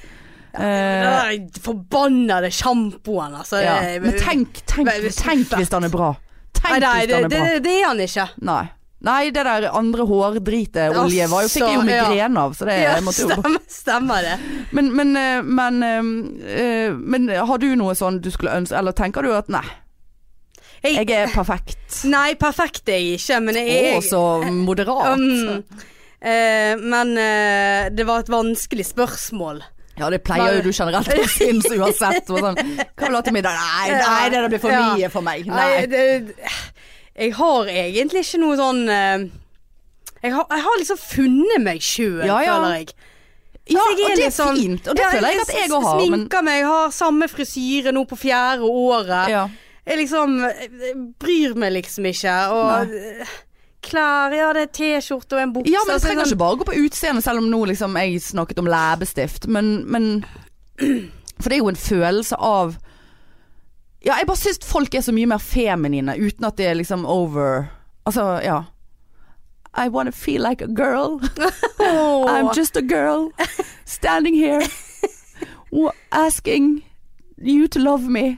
[SPEAKER 2] Den
[SPEAKER 1] Eh,
[SPEAKER 2] der forbannede sjampoen, altså.
[SPEAKER 1] ja.
[SPEAKER 2] Det-
[SPEAKER 1] Men tenk, tenk,
[SPEAKER 2] Nei, det er så
[SPEAKER 1] tenk hvis den er bra. Tenk
[SPEAKER 2] Nei, nei,
[SPEAKER 1] hvis
[SPEAKER 2] det,
[SPEAKER 1] den er
[SPEAKER 2] det,
[SPEAKER 1] bra.
[SPEAKER 2] det er han ikke.
[SPEAKER 1] Nei. Nei, det der andre hårdritet olje var jo, fikk jeg jo
[SPEAKER 2] Altså, ja.
[SPEAKER 1] migrene av, så det
[SPEAKER 2] Ja,
[SPEAKER 1] jeg måtte jo
[SPEAKER 2] stemmer, stemmer det.
[SPEAKER 1] Men, men, eh, men, eh, eh, men har du noe sånn du skulle ønske Eller tenker du at nei,
[SPEAKER 2] Jeg,
[SPEAKER 1] jeg er
[SPEAKER 2] [laughs]
[SPEAKER 1] perfekt?
[SPEAKER 2] nei, perfekt er jeg ikke, men jeg,
[SPEAKER 1] Å,
[SPEAKER 2] jeg
[SPEAKER 1] så moderat.
[SPEAKER 2] Mm. Eh, men eh, det var et vanskelig spørsmål.
[SPEAKER 1] Ja, det pleier jo du generelt å synes uansett. Og sånn, hva vil du ha til middag? Nei, nei, det der blir for
[SPEAKER 2] Ja.
[SPEAKER 1] mye for meg.
[SPEAKER 2] Nei,
[SPEAKER 1] Nei.
[SPEAKER 2] det, jeg har egentlig ikke noe sånn eh, jeg har, jeg har liksom funnet meg sjøl,
[SPEAKER 1] Ja, ja.
[SPEAKER 2] føler jeg.
[SPEAKER 1] Ja,
[SPEAKER 2] Altså, jeg
[SPEAKER 1] og det er
[SPEAKER 2] litt sånn-
[SPEAKER 1] fint. Og det
[SPEAKER 2] Ja,
[SPEAKER 1] føler jeg at jeg òg har. Men
[SPEAKER 2] Sminker meg, har samme frisyre nå på fjerde året.
[SPEAKER 1] ja.
[SPEAKER 2] Jeg liksom jeg bryr meg liksom ikke. Og klær Ja, det er T-skjorte og en bukse.
[SPEAKER 1] ja, men det
[SPEAKER 2] så
[SPEAKER 1] trenger
[SPEAKER 2] sånn-
[SPEAKER 1] ikke bare gå på utseendet, selv om nå liksom jeg snakket om leppestift. Men, men [clears throat] For det er jo en følelse av Ja, jeg bare syns folk er så mye mer feminine uten at det er liksom over Altså, ja. I wanna feel like a girl.
[SPEAKER 2] Åh.
[SPEAKER 1] I'm just a girl standing
[SPEAKER 2] [laughs]
[SPEAKER 1] here wa- asking you to love me.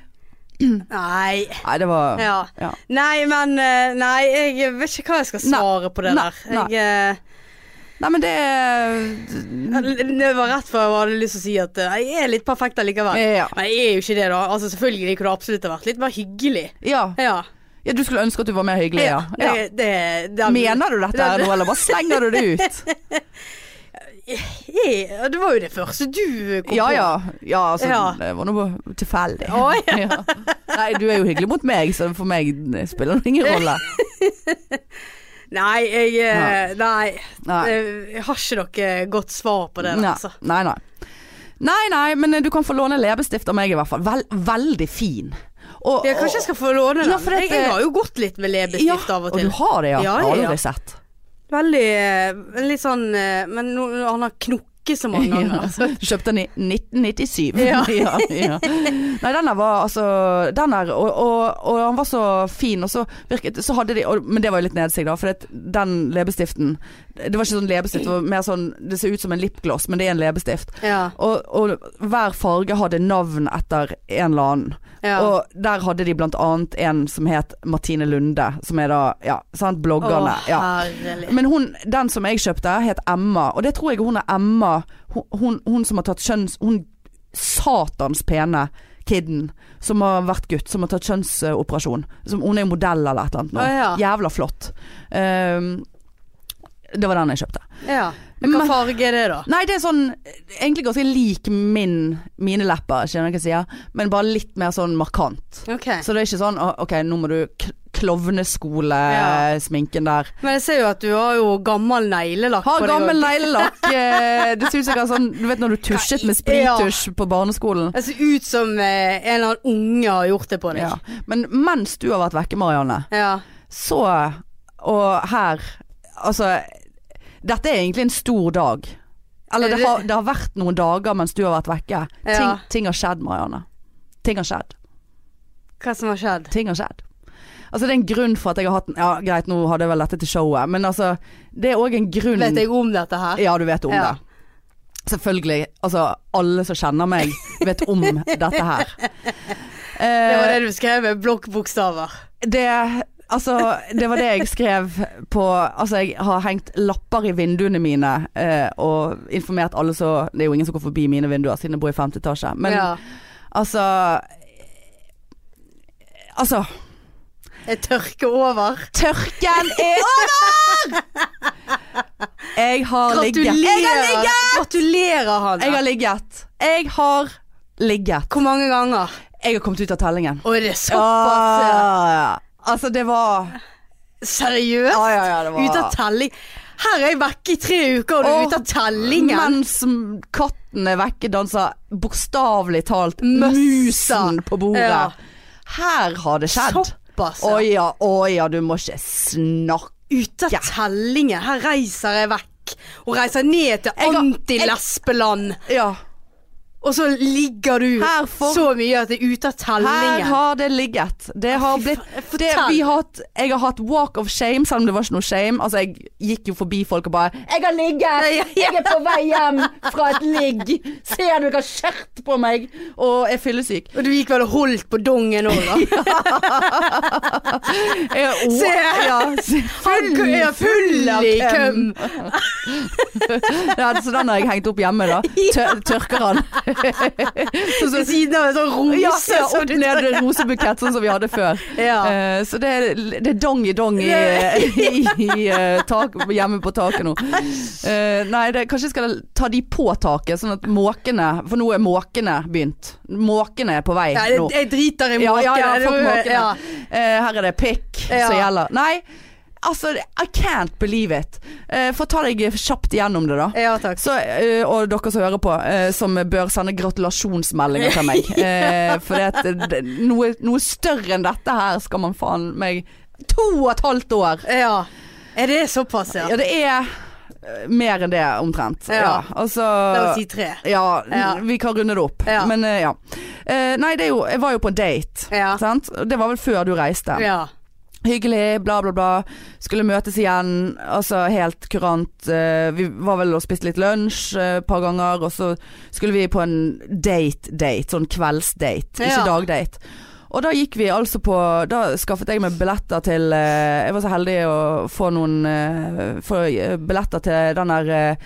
[SPEAKER 2] Nei.
[SPEAKER 1] Nei, det var
[SPEAKER 2] Ja.
[SPEAKER 1] Ja.
[SPEAKER 2] Nei, men eh, Nei, jeg vet ikke hva jeg skal svare på det
[SPEAKER 1] Nei,
[SPEAKER 2] der.
[SPEAKER 1] nei.
[SPEAKER 2] Jeg, eh,
[SPEAKER 1] Nei, men det Mm.
[SPEAKER 2] det var rett før jeg hadde lyst til å si at eh, jeg er litt perfekt allikevel.
[SPEAKER 1] Ja.
[SPEAKER 2] Men jeg er jo ikke det, da. Altså Selvfølgelig kunne det absolutt ha vært litt mer hyggelig.
[SPEAKER 1] Ja.
[SPEAKER 2] Ja.
[SPEAKER 1] ja, du skulle ønske at du var mer hyggelig, ja.
[SPEAKER 2] Det,
[SPEAKER 1] ja.
[SPEAKER 2] det, det,
[SPEAKER 1] Mener du dette her nå, eller bare slenger du det ut?
[SPEAKER 2] [laughs] Jeg, ja, det var jo det første du kom
[SPEAKER 1] Ja
[SPEAKER 2] på.
[SPEAKER 1] ja. ja altså,
[SPEAKER 2] Ja.
[SPEAKER 1] Det var noe tilfeldig.
[SPEAKER 2] Å,
[SPEAKER 1] [laughs] ja. Nei, du er jo hyggelig mot meg, så for meg spiller det ingen
[SPEAKER 2] [laughs]
[SPEAKER 1] rolle.
[SPEAKER 2] Nei, jeg, eh, nei,
[SPEAKER 1] Nei.
[SPEAKER 2] eh, jeg har ikke noe godt svar på det. der,
[SPEAKER 1] Nei,
[SPEAKER 2] Altså.
[SPEAKER 1] nei, nei. Nei, nei, men eh, du kan få låne leppestift av meg i hvert fall. Vel, veldig fin. Og,
[SPEAKER 2] Jeg, kanskje jeg skal få låne den.
[SPEAKER 1] Ja, for
[SPEAKER 2] jeg,
[SPEAKER 1] dette-
[SPEAKER 2] jeg har jo gått litt med leppestift
[SPEAKER 1] ja,
[SPEAKER 2] av og til.
[SPEAKER 1] Og du har det, ja.
[SPEAKER 2] Ja, ja,
[SPEAKER 1] Har du
[SPEAKER 2] ja.
[SPEAKER 1] det sett.
[SPEAKER 2] Veldig eh, Litt sånn eh, Men nå, han har knokket så mange ganger. altså.
[SPEAKER 1] [laughs] Ja. Kjøpte den i 1997.
[SPEAKER 2] Ja.
[SPEAKER 1] [laughs] ja, ja. Nei, den der var altså Den der, og, og, og han var så fin, og så virket Så hadde de og, Men det var jo litt nedsig, da, for det, den leppestiften Det var ikke sånn leppestift, det var mer sånn Det ser ut som en lipgloss, men det er en leppestift.
[SPEAKER 2] Ja.
[SPEAKER 1] Og, og hver farge hadde navn etter en eller annen.
[SPEAKER 2] ja.
[SPEAKER 1] Og der hadde de blant annet en som het Martine Lunde, som er da ja, sant, bloggerne.
[SPEAKER 2] Å,
[SPEAKER 1] ja.
[SPEAKER 2] herlig.
[SPEAKER 1] Men hun, den som jeg kjøpte, het Emma, og det tror jeg hun er Emma. Hun, hun, hun som har tatt kjønns... Hun satans pene kiden som har vært gutt, som har tatt kjønnsoperasjon. Som, hun er jo modell eller et eller annet nå.
[SPEAKER 2] Å, ja.
[SPEAKER 1] Jævla flott. Ehm, det var den jeg kjøpte.
[SPEAKER 2] Ja. Hva
[SPEAKER 1] Men-
[SPEAKER 2] farge er det, da?
[SPEAKER 1] Nei, det er sånn Egentlig ganske lik min, mine lepper, skjønner du hva jeg sier? Men bare litt mer sånn markant.
[SPEAKER 2] Ok.
[SPEAKER 1] Så det er ikke sånn «Å, OK, nå må du k-
[SPEAKER 2] Ja.
[SPEAKER 1] klovneskolesminken der.
[SPEAKER 2] Men jeg ser jo at du har jo gammel neglelakk
[SPEAKER 1] Har
[SPEAKER 2] på deg.
[SPEAKER 1] gammel
[SPEAKER 2] også. [laughs]
[SPEAKER 1] neglelakk. eh, Det ser ut som jeg har sånn Du vet når du tusjet med sprittusj på barneskolen?
[SPEAKER 2] Det ser ut som eh, en eller annen unge har gjort det på deg.
[SPEAKER 1] Ja. Men mens du har vært vekke, Marianne,
[SPEAKER 2] Ja.
[SPEAKER 1] så Og her Altså, dette er egentlig en stor dag. Eller det har, det har vært noen dager mens du har vært vekke. Ting,
[SPEAKER 2] Eh, Ja.
[SPEAKER 1] ting har skjedd, Marianne. Ting har skjedd.
[SPEAKER 2] Hva som har skjedd?
[SPEAKER 1] Ting har skjedd. Altså Det er en grunn for at jeg har hatt en- Ja, greit, nå hadde jeg vel dette til showet, men altså Det er òg en grunn
[SPEAKER 2] Vet jeg om dette her?
[SPEAKER 1] [laughs] Ja, du vet om
[SPEAKER 2] Ja.
[SPEAKER 1] det. Selvfølgelig. Altså, alle som kjenner meg, vet om dette her. Eh,
[SPEAKER 2] [laughs] Det var det du skrev med blokkbokstaver.
[SPEAKER 1] det Altså, det var det jeg skrev på Altså, jeg har hengt lapper i vinduene mine eh, og informert alle så Det er jo ingen som går forbi mine vinduer siden jeg bor i femte etasje, men
[SPEAKER 2] ja.
[SPEAKER 1] altså Altså
[SPEAKER 2] Jeg tørker over.
[SPEAKER 1] Tørken er over! Jeg har ligget.
[SPEAKER 2] Gratulerer.
[SPEAKER 1] Jeg har ligget!
[SPEAKER 2] Gratulerer, Hanna.
[SPEAKER 1] Jeg har ligget. Jeg har ligget.
[SPEAKER 2] Hvor mange ganger?
[SPEAKER 1] Jeg har kommet ut av tellingen.
[SPEAKER 2] Å, det er såpass.
[SPEAKER 1] Ja,
[SPEAKER 2] ja.
[SPEAKER 1] ja, ja. Altså, det var
[SPEAKER 2] Seriøst?
[SPEAKER 1] Ja, ja, ja, det var
[SPEAKER 2] Ute av telling? Her er jeg vekke i tre uker, og du
[SPEAKER 1] Åh,
[SPEAKER 2] er ute av tellingen.
[SPEAKER 1] Mens m- katten er vekke, danser bokstavelig talt
[SPEAKER 2] Møssa.
[SPEAKER 1] musen på bordet.
[SPEAKER 2] Ja.
[SPEAKER 1] Her har det skjedd.
[SPEAKER 2] Såpass.
[SPEAKER 1] Å
[SPEAKER 2] ja.
[SPEAKER 1] ja, å ja, du må ikke snakke.
[SPEAKER 2] Ute av tellingen. Her reiser jeg vekk. Og reiser ned
[SPEAKER 1] Jeg
[SPEAKER 2] til
[SPEAKER 1] har-
[SPEAKER 2] antilesbeland.
[SPEAKER 1] Ja.
[SPEAKER 2] Og så ligger du
[SPEAKER 1] Her for-
[SPEAKER 2] så mye at jeg er ute av
[SPEAKER 1] Her
[SPEAKER 2] tellingen.
[SPEAKER 1] har det ligget. Det har blitt det,
[SPEAKER 2] fortell.
[SPEAKER 1] vi har hatt, Jeg har hatt walk of shame, selv om det var ikke noe shame. Altså, jeg gikk jo forbi folk og bare 'Jeg har ligget! Jeg er på vei hjem fra et ligg! Ser du, jeg har skjørt på meg!' Og jeg er fyllesyk.
[SPEAKER 2] Og du gikk vel og holdt på dongen òg,
[SPEAKER 1] [laughs]
[SPEAKER 2] da.
[SPEAKER 1] Jeg er å-
[SPEAKER 2] Se!
[SPEAKER 1] Ja, se-
[SPEAKER 2] Han er full av køm.
[SPEAKER 1] Ja, så den har jeg hengt opp hjemme,
[SPEAKER 2] [laughs]
[SPEAKER 1] da. Tør, tørker han.
[SPEAKER 2] Så ved siden av en sånn rose.
[SPEAKER 1] Ja, ja,
[SPEAKER 2] som
[SPEAKER 1] opp
[SPEAKER 2] du-
[SPEAKER 1] ned en rosebukett, sånn som vi hadde før.
[SPEAKER 2] [laughs] Ja.
[SPEAKER 1] Eh, så det er, det er dong i dong i, [laughs] i, i eh, tak, hjemme på taket nå. Eh, nei, det, kanskje jeg skal ta de på taket, sånn at måkene For nå er måkene begynt. Måkene er på vei
[SPEAKER 2] Ja, jeg,
[SPEAKER 1] nå.
[SPEAKER 2] jeg driter i
[SPEAKER 1] Ja,
[SPEAKER 2] måkene.
[SPEAKER 1] ja, ja,
[SPEAKER 2] Det
[SPEAKER 1] fuck
[SPEAKER 2] var-
[SPEAKER 1] måkene.
[SPEAKER 2] ja.
[SPEAKER 1] Eh, her er det pikk
[SPEAKER 2] Ja.
[SPEAKER 1] som gjelder. Nei, altså I can't believe it. Eh, Få ta deg kjapt gjennom det, da.
[SPEAKER 2] ja, takk.
[SPEAKER 1] Så, eh, og dere som hører på, eh, som bør sende gratulasjonsmeldinger til
[SPEAKER 2] [laughs]
[SPEAKER 1] meg. Eh, For det, at det, noe, noe større enn dette her skal man faen meg To og et halvt år!
[SPEAKER 2] Ja. Er det såpass, ja?
[SPEAKER 1] Ja, det er eh, mer enn det, omtrent.
[SPEAKER 2] Ja.
[SPEAKER 1] Ja, altså
[SPEAKER 2] La oss si tre.
[SPEAKER 1] ja,
[SPEAKER 2] Ja.
[SPEAKER 1] vi kan runde det opp.
[SPEAKER 2] Ja.
[SPEAKER 1] Men eh, ja. Eh, nei, det er jo Jeg var jo på en date.
[SPEAKER 2] Ja.
[SPEAKER 1] Sant? Det var vel før du reiste.
[SPEAKER 2] Ja.
[SPEAKER 1] Hyggelig, bla, bla, bla. Skulle møtes igjen. Altså helt kurant. Eh, vi var vel og spiste litt lunsj eh, et par ganger, og så skulle vi på en date-date. Sånn kveldsdate, ikke
[SPEAKER 2] Ja.
[SPEAKER 1] dagdate. Og da gikk vi altså på Da skaffet jeg meg billetter til eh, Jeg var så heldig å få noen eh, Få eh, billetter til den der eh,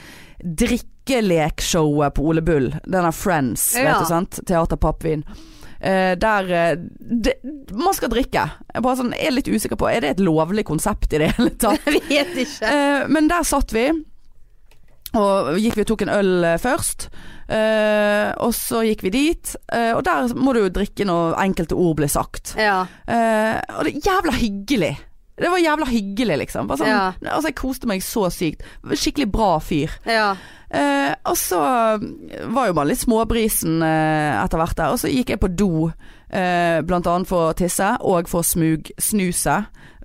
[SPEAKER 1] drikkeleksshowet på Ole Bull. Den der Friends,
[SPEAKER 2] Ja.
[SPEAKER 1] vet du sant. Teater Pappvin. Eh, der eh, det, Man skal drikke. Jeg bare sånn, er litt usikker på Er det et lovlig konsept i det hele tatt?
[SPEAKER 2] Jeg vet ikke.
[SPEAKER 1] Eh, men der satt vi. Og gikk vi og tok en øl eh, først. Eh, og så gikk vi dit. Eh, og der må du jo drikke når enkelte ord ble sagt.
[SPEAKER 2] Ja.
[SPEAKER 1] Eh, og det er jævla hyggelig. Det var jævla hyggelig, liksom. Bare sånn,
[SPEAKER 2] Ja.
[SPEAKER 1] altså, jeg koste meg så sykt. Skikkelig bra fyr.
[SPEAKER 2] Ja.
[SPEAKER 1] Eh, og så var jo man litt småbrisen eh, etter hvert der. Og så gikk jeg på do, eh, blant annet for å tisse og for å smug snuse.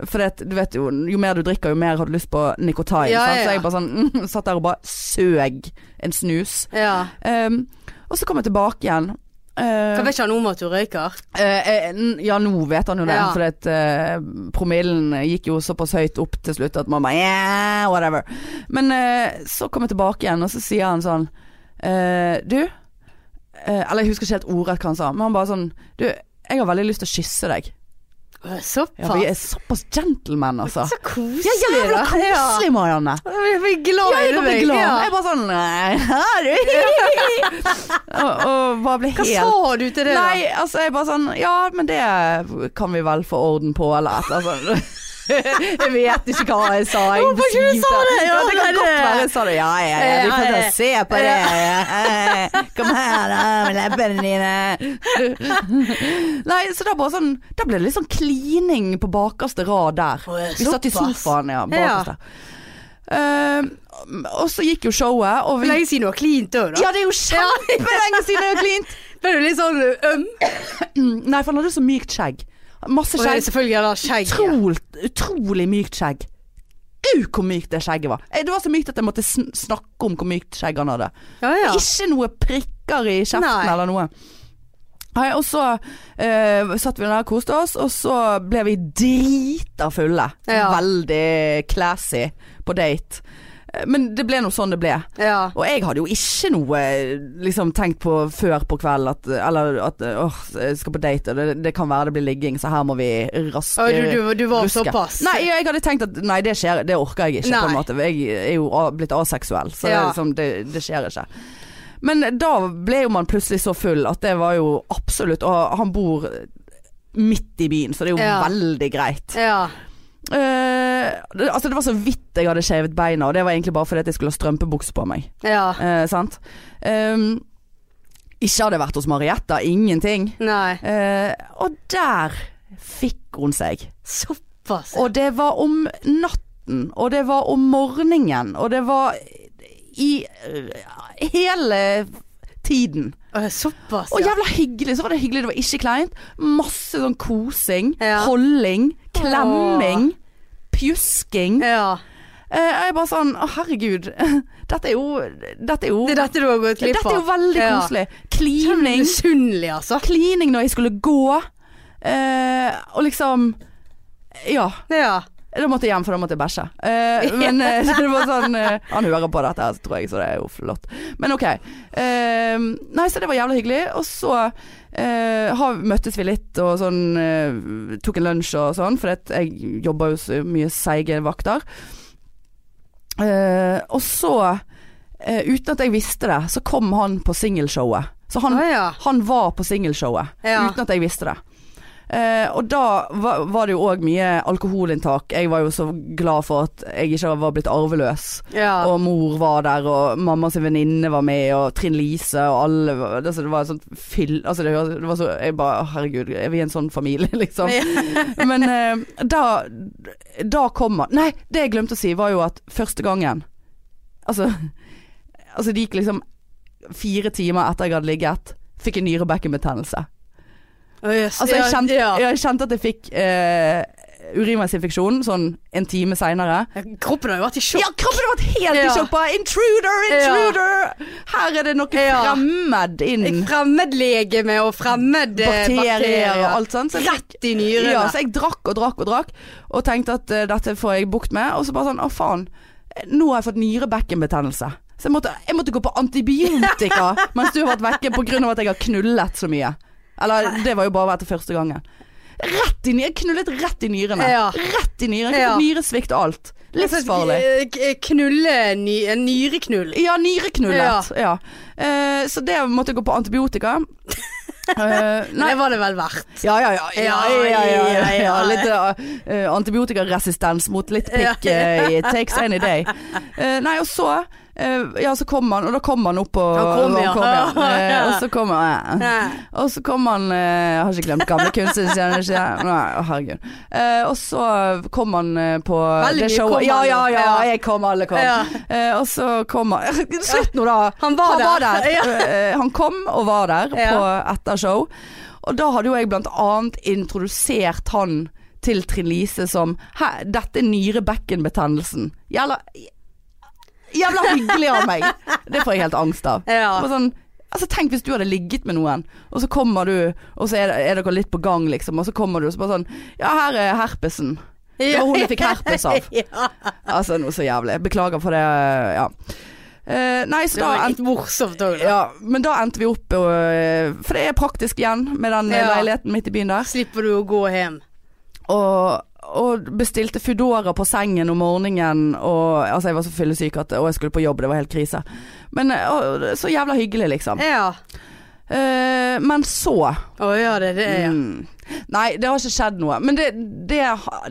[SPEAKER 1] For det, du vet jo, jo mer du drikker, jo mer har du lyst på nikotin.
[SPEAKER 2] Ja,
[SPEAKER 1] sant? Så
[SPEAKER 2] ja, ja.
[SPEAKER 1] jeg bare sånn, [laughs] mm, satt der og bare søg en snus.
[SPEAKER 2] ja.
[SPEAKER 1] Ehm, og så kom jeg tilbake igjen. Eh,
[SPEAKER 2] Jeg vet ikke han om at du røyker.
[SPEAKER 1] Eh, eh, n- ja, nå vet han jo det,
[SPEAKER 2] Ja.
[SPEAKER 1] for at, eh, promillen gikk jo såpass høyt opp til slutt at man bare yeah, whatever. Men eh, så kom jeg tilbake igjen, og så sier han sånn eh, Du eh, Eller jeg husker ikke helt ordrett hva han sa, men han bare sånn Du, jeg har veldig lyst til å kysse deg.
[SPEAKER 2] Å,
[SPEAKER 1] Ja, vi er såpass
[SPEAKER 2] Såpass.
[SPEAKER 1] gentlemen, altså.
[SPEAKER 2] Så koselig.
[SPEAKER 1] Ja, jævla
[SPEAKER 2] da.
[SPEAKER 1] koselig, Marianne.
[SPEAKER 2] Jeg blir glad
[SPEAKER 1] Ja,
[SPEAKER 2] i
[SPEAKER 1] jeg
[SPEAKER 2] deg.
[SPEAKER 1] ble glad.
[SPEAKER 2] Ja.
[SPEAKER 1] Jeg bare sånn [laughs] Nei, har du [laughs]
[SPEAKER 2] [laughs]
[SPEAKER 1] og, og bare ble
[SPEAKER 2] Hva
[SPEAKER 1] helt
[SPEAKER 2] sa du til det? da?
[SPEAKER 1] Nei, altså jeg bare sånn Ja, men det kan vi vel få orden på, eller et eller annet. [laughs] Jeg vet ikke hva jeg sa. Jeg
[SPEAKER 2] Hvorfor ikke du sa
[SPEAKER 1] besvimte.
[SPEAKER 2] det? Ja,
[SPEAKER 1] det kan
[SPEAKER 2] nei,
[SPEAKER 1] godt
[SPEAKER 2] det-
[SPEAKER 1] være jeg sa det. Ja, ja, ja. Vi får
[SPEAKER 2] Ja,
[SPEAKER 1] ta
[SPEAKER 2] ja.
[SPEAKER 1] se på det. Ja, ja. Kom her, da, med leppene dine. Nei, så da bare sånn Da ble det litt sånn klining på bakerste rad der.
[SPEAKER 2] Å, ja,
[SPEAKER 1] Vi satt i
[SPEAKER 2] såpass.
[SPEAKER 1] sofaen, ja. Bakerste. Eh, og så gikk jo showet, og
[SPEAKER 2] Hvor
[SPEAKER 1] vi
[SPEAKER 2] lenge siden du har klint òg, da?
[SPEAKER 1] Ja, det er jo [laughs] kjempelenge siden jeg har klint!
[SPEAKER 2] Ble du litt sånn øm?
[SPEAKER 1] Nei, for han hadde så mykt skjegg. Masse
[SPEAKER 2] Og det er
[SPEAKER 1] skjegg.
[SPEAKER 2] selvfølgelig er det skjegg. ja.
[SPEAKER 1] Utrolig, utrolig mykt skjegg. Gud, hvor mykt det skjegget var. Eh, Det var så mykt at jeg måtte sn snakke om hvor mykt skjegg han hadde.
[SPEAKER 2] Ja, ja.
[SPEAKER 1] Ikke noe prikker i kjeften
[SPEAKER 2] Nei.
[SPEAKER 1] eller noe. Nei, og så eh, satt vi der og koste oss, og så ble vi drita fulle.
[SPEAKER 2] Ja.
[SPEAKER 1] Veldig classy på date. Eh, Men det ble nå sånn det ble.
[SPEAKER 2] ja.
[SPEAKER 1] Og jeg hadde jo ikke noe liksom, tenkt på før på kvelden at, eller, at åh, jeg skal på date, og det, det kan være det blir ligging, så her må vi raske
[SPEAKER 2] Å, du, du, du var
[SPEAKER 1] ruske.
[SPEAKER 2] såpass?
[SPEAKER 1] Nei, jeg hadde tenkt at nei, det skjer, det orker jeg ikke, på en
[SPEAKER 2] Nei.
[SPEAKER 1] måte. Jeg er jo a- blitt aseksuell, så det, er
[SPEAKER 2] Ja.
[SPEAKER 1] liksom, det, det skjer ikke. Men da ble jo man plutselig så full at det var jo absolutt Og han bor midt i byen, så det er jo
[SPEAKER 2] Ja.
[SPEAKER 1] veldig greit.
[SPEAKER 2] Ja.
[SPEAKER 1] Eh, det, altså det var så vidt jeg hadde skjevet beina, og det var egentlig bare fordi at jeg skulle ha strømpebukse på meg.
[SPEAKER 2] ja.
[SPEAKER 1] Eh, sant? Ehm, ikke hadde jeg vært hos Marietta, ingenting.
[SPEAKER 2] Nei.
[SPEAKER 1] Eh, og der fikk hun seg.
[SPEAKER 2] Såpass?
[SPEAKER 1] Og det var om natten, og det var om morgenen, og det var i eh, hele tiden.
[SPEAKER 2] Å, såpass,
[SPEAKER 1] Og
[SPEAKER 2] ja.
[SPEAKER 1] jævla hyggelig. Så var det hyggelig, det var ikke kleint. Masse sånn kosing,
[SPEAKER 2] Ja.
[SPEAKER 1] holding, klemming, pjusking.
[SPEAKER 2] ja.
[SPEAKER 1] Eh, jeg bare sånn Å, herregud. [laughs] Dette er jo Dette er jo
[SPEAKER 2] Det er dette du har gått glipp av?
[SPEAKER 1] dette er jo veldig
[SPEAKER 2] Ja.
[SPEAKER 1] koselig.
[SPEAKER 2] Kjenner du deg
[SPEAKER 1] Klining.
[SPEAKER 2] Misunnelig, altså.
[SPEAKER 1] Klining når jeg skulle gå. Eh, og liksom Ja.
[SPEAKER 2] Ja.
[SPEAKER 1] Da måtte jeg hjem, for da måtte jeg bæsje. Eh, men eh, [laughs] det var sånn eh, Han hører på dette, her, tror jeg, så det er jo flott. Men OK. Eh, nei, så det var jævla hyggelig. Og så eh, har, møttes vi litt og sånn eh, Tok en lunsj og sånn, for jeg jobber jo så mye seige vakter. Eh, og så, eh, uten at jeg visste det, så kom han på singelshowet. Så han,
[SPEAKER 2] Å, ja.
[SPEAKER 1] han var på singelshowet,
[SPEAKER 2] Ja.
[SPEAKER 1] uten at jeg visste det. Eh, og da var, var det jo òg mye alkoholinntak. Jeg var jo så glad for at jeg ikke var blitt arveløs.
[SPEAKER 2] ja.
[SPEAKER 1] Og mor var der, og mammas venninne var med, og Trinn Lise, og alle var- altså, Det var et sånt fyll altså, det, var- det var så Jeg bare Herregud, er vi en sånn familie, [laughs] liksom?
[SPEAKER 2] [laughs]
[SPEAKER 1] Men eh, da, da kom han Nei, det jeg glemte å si, var jo at første gangen Altså, altså det gikk liksom fire timer etter jeg hadde ligget, fikk jeg nyrebekkenbetennelse.
[SPEAKER 2] Å, jøss.
[SPEAKER 1] Altså, jeg
[SPEAKER 2] Ja,
[SPEAKER 1] kjente,
[SPEAKER 2] ja.
[SPEAKER 1] jeg kjente at jeg fikk eh, urinveisinfeksjon sånn en time seinere.
[SPEAKER 2] Kroppen har jo vært i sjokk.
[SPEAKER 1] Ja, kroppen har vært helt i
[SPEAKER 2] Ja.
[SPEAKER 1] sjokk. Bare intruder, intruder! Her er det noe
[SPEAKER 2] Ja.
[SPEAKER 1] fremmed inn.
[SPEAKER 2] Fremmedlegeme og fremmed eh,
[SPEAKER 1] Bakterier og alt sånt. Så jeg,
[SPEAKER 2] Rett i nyrene.
[SPEAKER 1] ja, så jeg drakk og drakk og drakk, og tenkte at eh, dette får jeg bukt med. Og så bare sånn, å faen. Nå har jeg fått nyrebekkenbetennelse. Så jeg måtte, jeg måtte gå på antibiotika
[SPEAKER 2] [laughs]
[SPEAKER 1] mens du har vært vekke pga. at jeg har knullet så mye. Eller det var jo bare etter første gangen. Rett i ny- Jeg knullet rett i nyrene.
[SPEAKER 2] Ja.
[SPEAKER 1] Rett i nyrene.
[SPEAKER 2] Ja.
[SPEAKER 1] Ja. Nyresvikt og alt. Livsfarlig.
[SPEAKER 2] Altså, k- Knulle ny, En nyreknull.
[SPEAKER 1] Ja, nyreknullet. Ja. Eh, så det måtte jeg gå på
[SPEAKER 2] [laughs]
[SPEAKER 1] antibiotika. Eh, nei,
[SPEAKER 2] Det var det vel
[SPEAKER 1] [laughs]
[SPEAKER 2] verdt.
[SPEAKER 1] ja, ja, ja. ja, ja, ja, ja, ja,
[SPEAKER 2] ja.
[SPEAKER 1] Litt eh, antibiotikaresistens mot litt pikk eh, i takes any day. Eh, nei, og så eh, Ja, så kom han, og da kom han opp og
[SPEAKER 2] Han kom, ja.
[SPEAKER 1] og Eh, [laughs] og så kom han eh.
[SPEAKER 2] Ja.
[SPEAKER 1] [laughs] Og så kom han eh, Jeg har ikke glemt gamle kunstnere, sier han ikke. Nei, å, herregud. Eh, og så kom han eh, på
[SPEAKER 2] Veldig
[SPEAKER 1] det
[SPEAKER 2] mye kom
[SPEAKER 1] showet.
[SPEAKER 2] han
[SPEAKER 1] Ja, ja,
[SPEAKER 2] nå.
[SPEAKER 1] ja,
[SPEAKER 2] Ja.
[SPEAKER 1] jeg kom, alle kom.
[SPEAKER 2] Ja.
[SPEAKER 1] Eh, og så kom han [laughs] Slutt nå, da.
[SPEAKER 2] Han var der. [laughs] Ja.
[SPEAKER 1] Eh, han kom og var der
[SPEAKER 2] Ja.
[SPEAKER 1] på etter show. Og da hadde jo jeg blant annet introdusert han til Trine Lise som «Hæ, Dette er nyrebekkenbetennelsen. Jævla Jævla hyggelig av
[SPEAKER 2] [laughs]
[SPEAKER 1] meg! Det får jeg helt angst av.
[SPEAKER 2] Ja.
[SPEAKER 1] Bare Sånn, altså Tenk hvis du hadde ligget med noen, og så kommer du, og så er, det- er dere litt på gang, liksom, og så kommer du og så bare sånn Ja, her er herpesen. Det var hun jeg fikk herpes av.
[SPEAKER 2] [laughs] Ja.
[SPEAKER 1] Altså, noe så jævlig. Beklager for det, ja. Eh, nei, så
[SPEAKER 2] Det
[SPEAKER 1] da
[SPEAKER 2] var
[SPEAKER 1] endte
[SPEAKER 2] litt morsomt òg, da.
[SPEAKER 1] ja, men da endte vi opp øh, For det er praktisk igjen med den øh,
[SPEAKER 2] Ja.
[SPEAKER 1] leiligheten midt i byen der.
[SPEAKER 2] Slipper du å gå hjem.
[SPEAKER 1] Og, og bestilte Foodora på sengen om morgenen. Og altså, jeg var så fyllesyk at og jeg skulle på jobb, det var helt krise. Men øh, og, så jævla hyggelig, liksom.
[SPEAKER 2] Ja.
[SPEAKER 1] Eh, men så
[SPEAKER 2] Å ja, det er det, ja.
[SPEAKER 1] mm, Nei, det har ikke skjedd noe. Men det, det,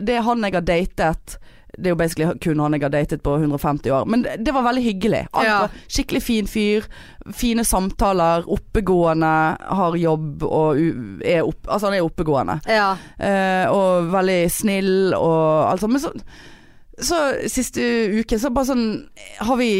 [SPEAKER 1] det er han jeg har datet Det er jo basically kun han jeg har datet på 150 år. Men det, det var veldig hyggelig. Alt
[SPEAKER 2] Ja.
[SPEAKER 1] var skikkelig fin fyr. Fine samtaler. Oppegående. Har jobb og u- er opp, Altså, han er oppegående.
[SPEAKER 2] Ja.
[SPEAKER 1] Eh, og veldig snill og alt sånt. Men så, så siste uke så bare sånn Har vi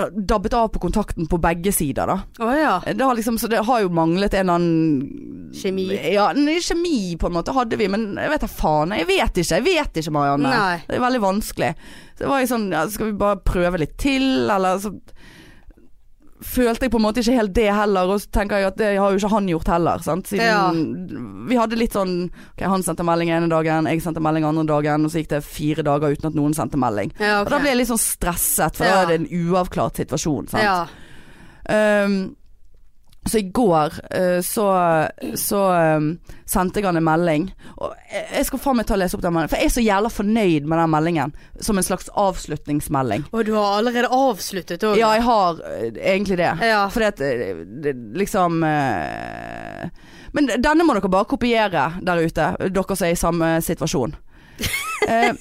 [SPEAKER 1] dabbet av på kontakten på begge sider, da.
[SPEAKER 2] Å ja.
[SPEAKER 1] Det har liksom, så det har jo manglet en eller annen
[SPEAKER 2] Kjemi.
[SPEAKER 1] Ja, n- kjemi på en måte hadde vi, men jeg vet da faen. Jeg vet ikke, jeg vet ikke Marianne.
[SPEAKER 2] Nei.
[SPEAKER 1] Det er veldig vanskelig. Så det var jeg sånn, ja, skal vi bare prøve litt til, eller så Følte jeg på en måte ikke helt det heller, og så tenker jeg at det har jo ikke han gjort heller. Sant? Siden vi hadde litt sånn Ok, han sendte melding ene dagen, jeg sendte melding andre dagen, og så gikk det fire dager uten at noen sendte melding.
[SPEAKER 2] Ja,
[SPEAKER 1] Og da
[SPEAKER 2] ok.
[SPEAKER 1] ble jeg litt sånn stresset, for da
[SPEAKER 2] Ja.
[SPEAKER 1] er det en uavklart situasjon. Sant?
[SPEAKER 2] ja.
[SPEAKER 1] Ehm, så i går eh, så, så ehm, sendte jeg han en melding. Og jeg- jeg skal faen meg ta og lese opp den meldingen. For jeg er så jævla fornøyd med den meldingen. Som en slags avslutningsmelding.
[SPEAKER 2] Og du har allerede avsluttet òg?
[SPEAKER 1] Ja, jeg har eh, egentlig det.
[SPEAKER 2] Ja.
[SPEAKER 1] Fordi at eh, det- liksom eh, Men denne må dere bare kopiere der ute, dere som er i samme situasjon. Eh,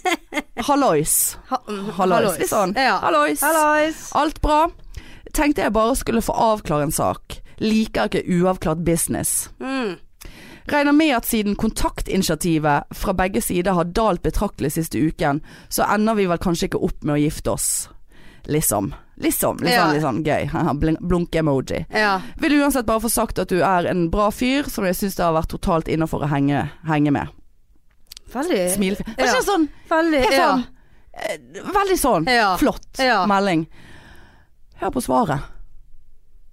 [SPEAKER 1] hallois.
[SPEAKER 2] Ha- mm,
[SPEAKER 1] Hallois. Litt sånn.
[SPEAKER 2] Ja.
[SPEAKER 1] Hallois.
[SPEAKER 2] Hallois.
[SPEAKER 1] Alt bra. Tenkte jeg bare skulle få avklare en sak. Liker ikke uavklart business.
[SPEAKER 2] Mm.
[SPEAKER 1] Regner med at siden kontaktinitiativet fra begge sider har dalt betraktelig siste uken, så ender vi vel kanskje ikke opp med å gifte oss. Liksom. Liksom. Litt
[SPEAKER 2] Ja.
[SPEAKER 1] sånn, litt sånn gøy. [laughs] Haha, blink- Blunk-emoji.
[SPEAKER 2] Ja.
[SPEAKER 1] Vil uansett bare få sagt at du er en bra fyr som jeg syns det har vært totalt innafor å henge, henge med.
[SPEAKER 2] Veldig
[SPEAKER 1] Smilefjes. Var
[SPEAKER 2] Ja.
[SPEAKER 1] ikke det sånn?
[SPEAKER 2] Veldig
[SPEAKER 1] Helt
[SPEAKER 2] ja.
[SPEAKER 1] sånn. eh, Veldig sånn.
[SPEAKER 2] Ja.
[SPEAKER 1] Flott
[SPEAKER 2] Ja.
[SPEAKER 1] melding. Hør på svaret.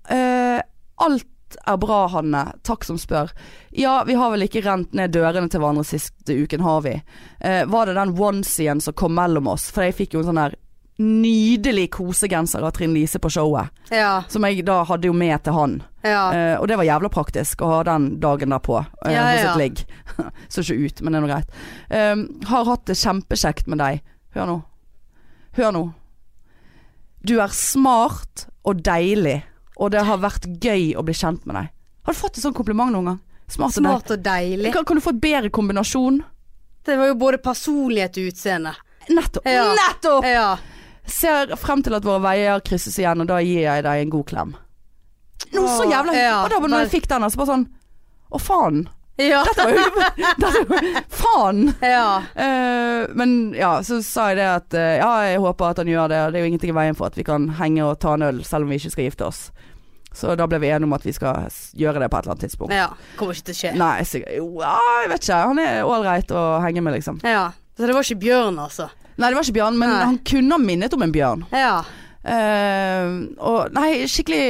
[SPEAKER 1] Eh, alt er bra, Hanne. Takk som spør. Ja, vi har vel ikke rent ned dørene til hverandre siste uken, har vi? Eh, var det den onesien som kom mellom oss? For jeg fikk jo en sånn der nydelig kosegenser av Trine Lise på showet.
[SPEAKER 2] Ja.
[SPEAKER 1] Som jeg da hadde jo med til han.
[SPEAKER 2] Ja.
[SPEAKER 1] Eh, og det var jævla praktisk å ha den dagen derpå eh,
[SPEAKER 2] Ja,
[SPEAKER 1] hos
[SPEAKER 2] ja.
[SPEAKER 1] et ligg. [laughs] Så ikke ut, men det er nå greit. Ehm, har hatt det kjempekjekt med deg. Hør nå. Hør nå. Du er smart og deilig, og det har vært gøy å bli kjent med deg. Har du fått et sånt kompliment noen gang? Smart, og
[SPEAKER 2] Smart og deilig.
[SPEAKER 1] deilig. Kan, kan du få et bedre kombinasjon?
[SPEAKER 2] Det var jo både personlighet og utseende.
[SPEAKER 1] Nettopp.
[SPEAKER 2] Ja.
[SPEAKER 1] Nettopp!
[SPEAKER 2] Ja.
[SPEAKER 1] Ser frem til at våre veier krysses igjen, og da gir jeg deg en god klem. Noe så
[SPEAKER 2] Åh,
[SPEAKER 1] jævla
[SPEAKER 2] ja,
[SPEAKER 1] Og da når
[SPEAKER 2] vel.
[SPEAKER 1] jeg fikk den, så bare sånn Å, faen.
[SPEAKER 2] Ja.
[SPEAKER 1] Dette var jo dette var- Faen!
[SPEAKER 2] [laughs] ja.
[SPEAKER 1] Eh, men ja, så sa jeg det at eh, ja, jeg håper at han gjør det, og det er jo ingenting i veien for at vi kan henge og ta en øl selv om vi ikke skal gifte oss. Så da ble vi enige om at vi skal s- gjøre det på et eller annet tidspunkt.
[SPEAKER 2] ja. Kommer ikke til å skje.
[SPEAKER 1] Nei, sikkert Jo, ja, jeg vet ikke. Han er ålreit å henge med, liksom.
[SPEAKER 2] Ja. Så det var ikke bjørn, altså.
[SPEAKER 1] Nei, det var ikke bjørn, men
[SPEAKER 2] Nei.
[SPEAKER 1] han kunne ha minnet om en bjørn.
[SPEAKER 2] Ja.
[SPEAKER 1] Eh, og nei, skikkelig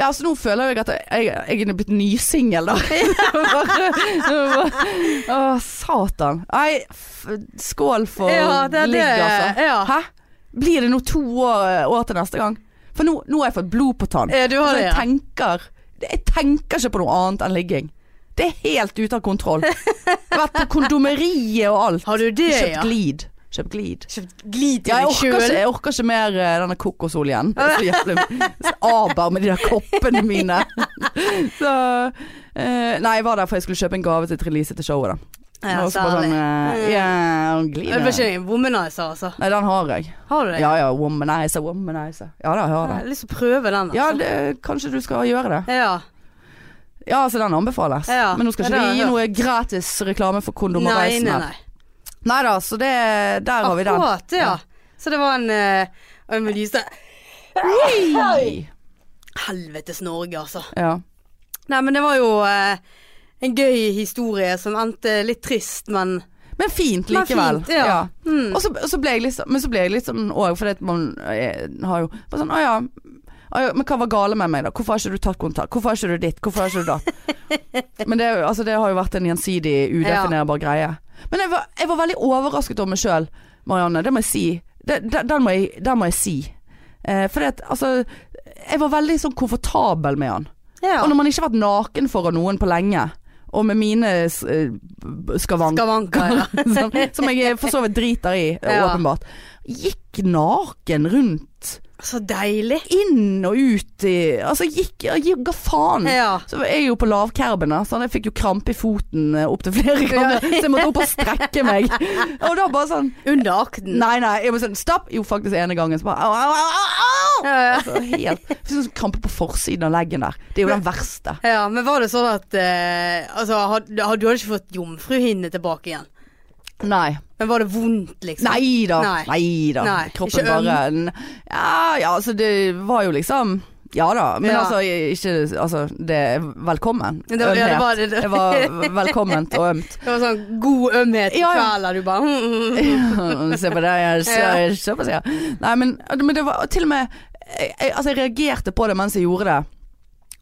[SPEAKER 1] Ja, altså nå føler jeg at jeg, jeg er blitt nysingel,
[SPEAKER 2] [laughs]
[SPEAKER 1] da. [laughs] Bare- bare- Å, satan. Nei, f skål for
[SPEAKER 2] Ja, det er
[SPEAKER 1] ligg,
[SPEAKER 2] det.
[SPEAKER 1] altså.
[SPEAKER 2] Ja.
[SPEAKER 1] Hæ? Blir det nå to år, år til neste gang? For nå, nå har jeg fått blod på tann.
[SPEAKER 2] Ja, du har
[SPEAKER 1] Altså,
[SPEAKER 2] det,
[SPEAKER 1] jeg,
[SPEAKER 2] ja.
[SPEAKER 1] tenker, jeg tenker ikke på noe annet enn ligging. Det er helt ute av kontroll.
[SPEAKER 2] [laughs]
[SPEAKER 1] Jeg har vært på kondomeriet og alt.
[SPEAKER 2] Har du det,
[SPEAKER 1] Kjøpt
[SPEAKER 2] ja?
[SPEAKER 1] glid. Kjøpt glid.
[SPEAKER 2] Kjøpt glid
[SPEAKER 1] Ja, jeg
[SPEAKER 2] til deg
[SPEAKER 1] orker, ikke,
[SPEAKER 2] sjøl?
[SPEAKER 1] jeg orker ikke mer eh, denne kokosoljen. Det er så jævlig så aber med de der koppene mine. [laughs] Så eh, Nei, jeg var der for jeg skulle kjøpe en gave til Trine Lise til showet, da.
[SPEAKER 2] Ja,
[SPEAKER 1] Og så bare
[SPEAKER 2] særlig.
[SPEAKER 1] sånn eh, Ja, hun
[SPEAKER 2] Det var
[SPEAKER 1] glider.
[SPEAKER 2] ikke en womanizer, altså.
[SPEAKER 1] Nei, den har jeg.
[SPEAKER 2] Har du det?
[SPEAKER 1] Ja ja, womanizer, womanizer. Ja da, jeg
[SPEAKER 2] Jeg
[SPEAKER 1] har
[SPEAKER 2] har
[SPEAKER 1] det.
[SPEAKER 2] lyst til å prøve den,
[SPEAKER 1] Ja,
[SPEAKER 2] altså.
[SPEAKER 1] det, kanskje du skal gjøre det.
[SPEAKER 2] Ja.
[SPEAKER 1] Ja, altså den anbefales.
[SPEAKER 2] Ja,
[SPEAKER 1] Men nå skal
[SPEAKER 2] ja, det
[SPEAKER 1] ikke
[SPEAKER 2] har
[SPEAKER 1] vi
[SPEAKER 2] jeg
[SPEAKER 1] gi noe gratis reklame for kondom og
[SPEAKER 2] Nei, nei,
[SPEAKER 1] reisende.
[SPEAKER 2] nei.
[SPEAKER 1] Nei da, så det, der har vi den.
[SPEAKER 2] Akkurat, ja. Så det var en eh, Og jeg må lyse.
[SPEAKER 1] Hei.
[SPEAKER 2] Helvetes Norge, altså.
[SPEAKER 1] Ja.
[SPEAKER 2] Nei, men det var jo eh, en gøy historie som endte litt trist, men
[SPEAKER 1] Men fint
[SPEAKER 2] Men
[SPEAKER 1] likevel.
[SPEAKER 2] fint, ja. Mm.
[SPEAKER 1] Og så, og så ble jeg litt sånn- men så ble jeg litt sånn òg, fordi at man eh, har jo bare sånn Å ja. «Å ja, Men hva var gale med meg, da? Hvorfor har ikke du tatt kontakt? Hvorfor har ikke du ditt? Hvorfor har ikke du datt? Men det, er jo- altså, det har jo vært en gjensidig, udefinerbar greie. Men jeg var, jeg var veldig overrasket over meg sjøl, Marianne. Det må jeg si. Det, det, den, må jeg, den må jeg si. Eh, fordi at altså Jeg var veldig sånn komfortabel med han.
[SPEAKER 2] ja.
[SPEAKER 1] Og når man ikke har vært naken foran noen på lenge, og med mine s- eh, skavanker
[SPEAKER 2] Skavanker, [laughs] ja.
[SPEAKER 1] som, som jeg for så vidt driter i,
[SPEAKER 2] Ja.
[SPEAKER 1] åpenbart. Gikk naken rundt.
[SPEAKER 2] Så deilig.
[SPEAKER 1] Inn og ut i Altså, gikk Jeg ga faen.
[SPEAKER 2] Ja.
[SPEAKER 1] Så jeg er jo på lavkerben, da, så jeg fikk jo krampe i foten eh, opptil flere ganger. Så jeg måtte opp og strekke
[SPEAKER 2] [laughs]
[SPEAKER 1] meg. Og da bare sånn
[SPEAKER 2] Under akten.
[SPEAKER 1] Nei, nei. Jeg bare sånn, Stopp! Jo, faktisk ene gangen. Så bare au, au, au, au, au.
[SPEAKER 2] Ja,
[SPEAKER 1] [laughs]
[SPEAKER 2] ja.
[SPEAKER 1] Altså, helt Sånn som krampe på forsiden av leggen der. Det er jo den verste.
[SPEAKER 2] Ja, men var det sånn at eh, Altså, had, du hadde ikke fått jomfruhinne tilbake igjen?
[SPEAKER 1] Nei.
[SPEAKER 2] Men var det vondt, liksom?
[SPEAKER 1] Nei da.
[SPEAKER 2] Nei.
[SPEAKER 1] Nei da.
[SPEAKER 2] Nei,
[SPEAKER 1] Kroppen
[SPEAKER 2] ikke øm.
[SPEAKER 1] bare ja, ja, altså det var jo liksom Ja da, men
[SPEAKER 2] Ja.
[SPEAKER 1] altså jeg- ikke Altså, det er velkommen.
[SPEAKER 2] Det var- ja, det
[SPEAKER 1] Ømhet.
[SPEAKER 2] var det- det-
[SPEAKER 1] det var velkomment og ømt. [laughs]
[SPEAKER 2] Det var sånn god ømhet på
[SPEAKER 1] Ja, ja.
[SPEAKER 2] kvelden, du bare mm, mm, mm.
[SPEAKER 1] Se på det, jeg ser se på det. Nei, men, men det var til og med jeg, jeg- Altså, jeg reagerte på det mens jeg gjorde det.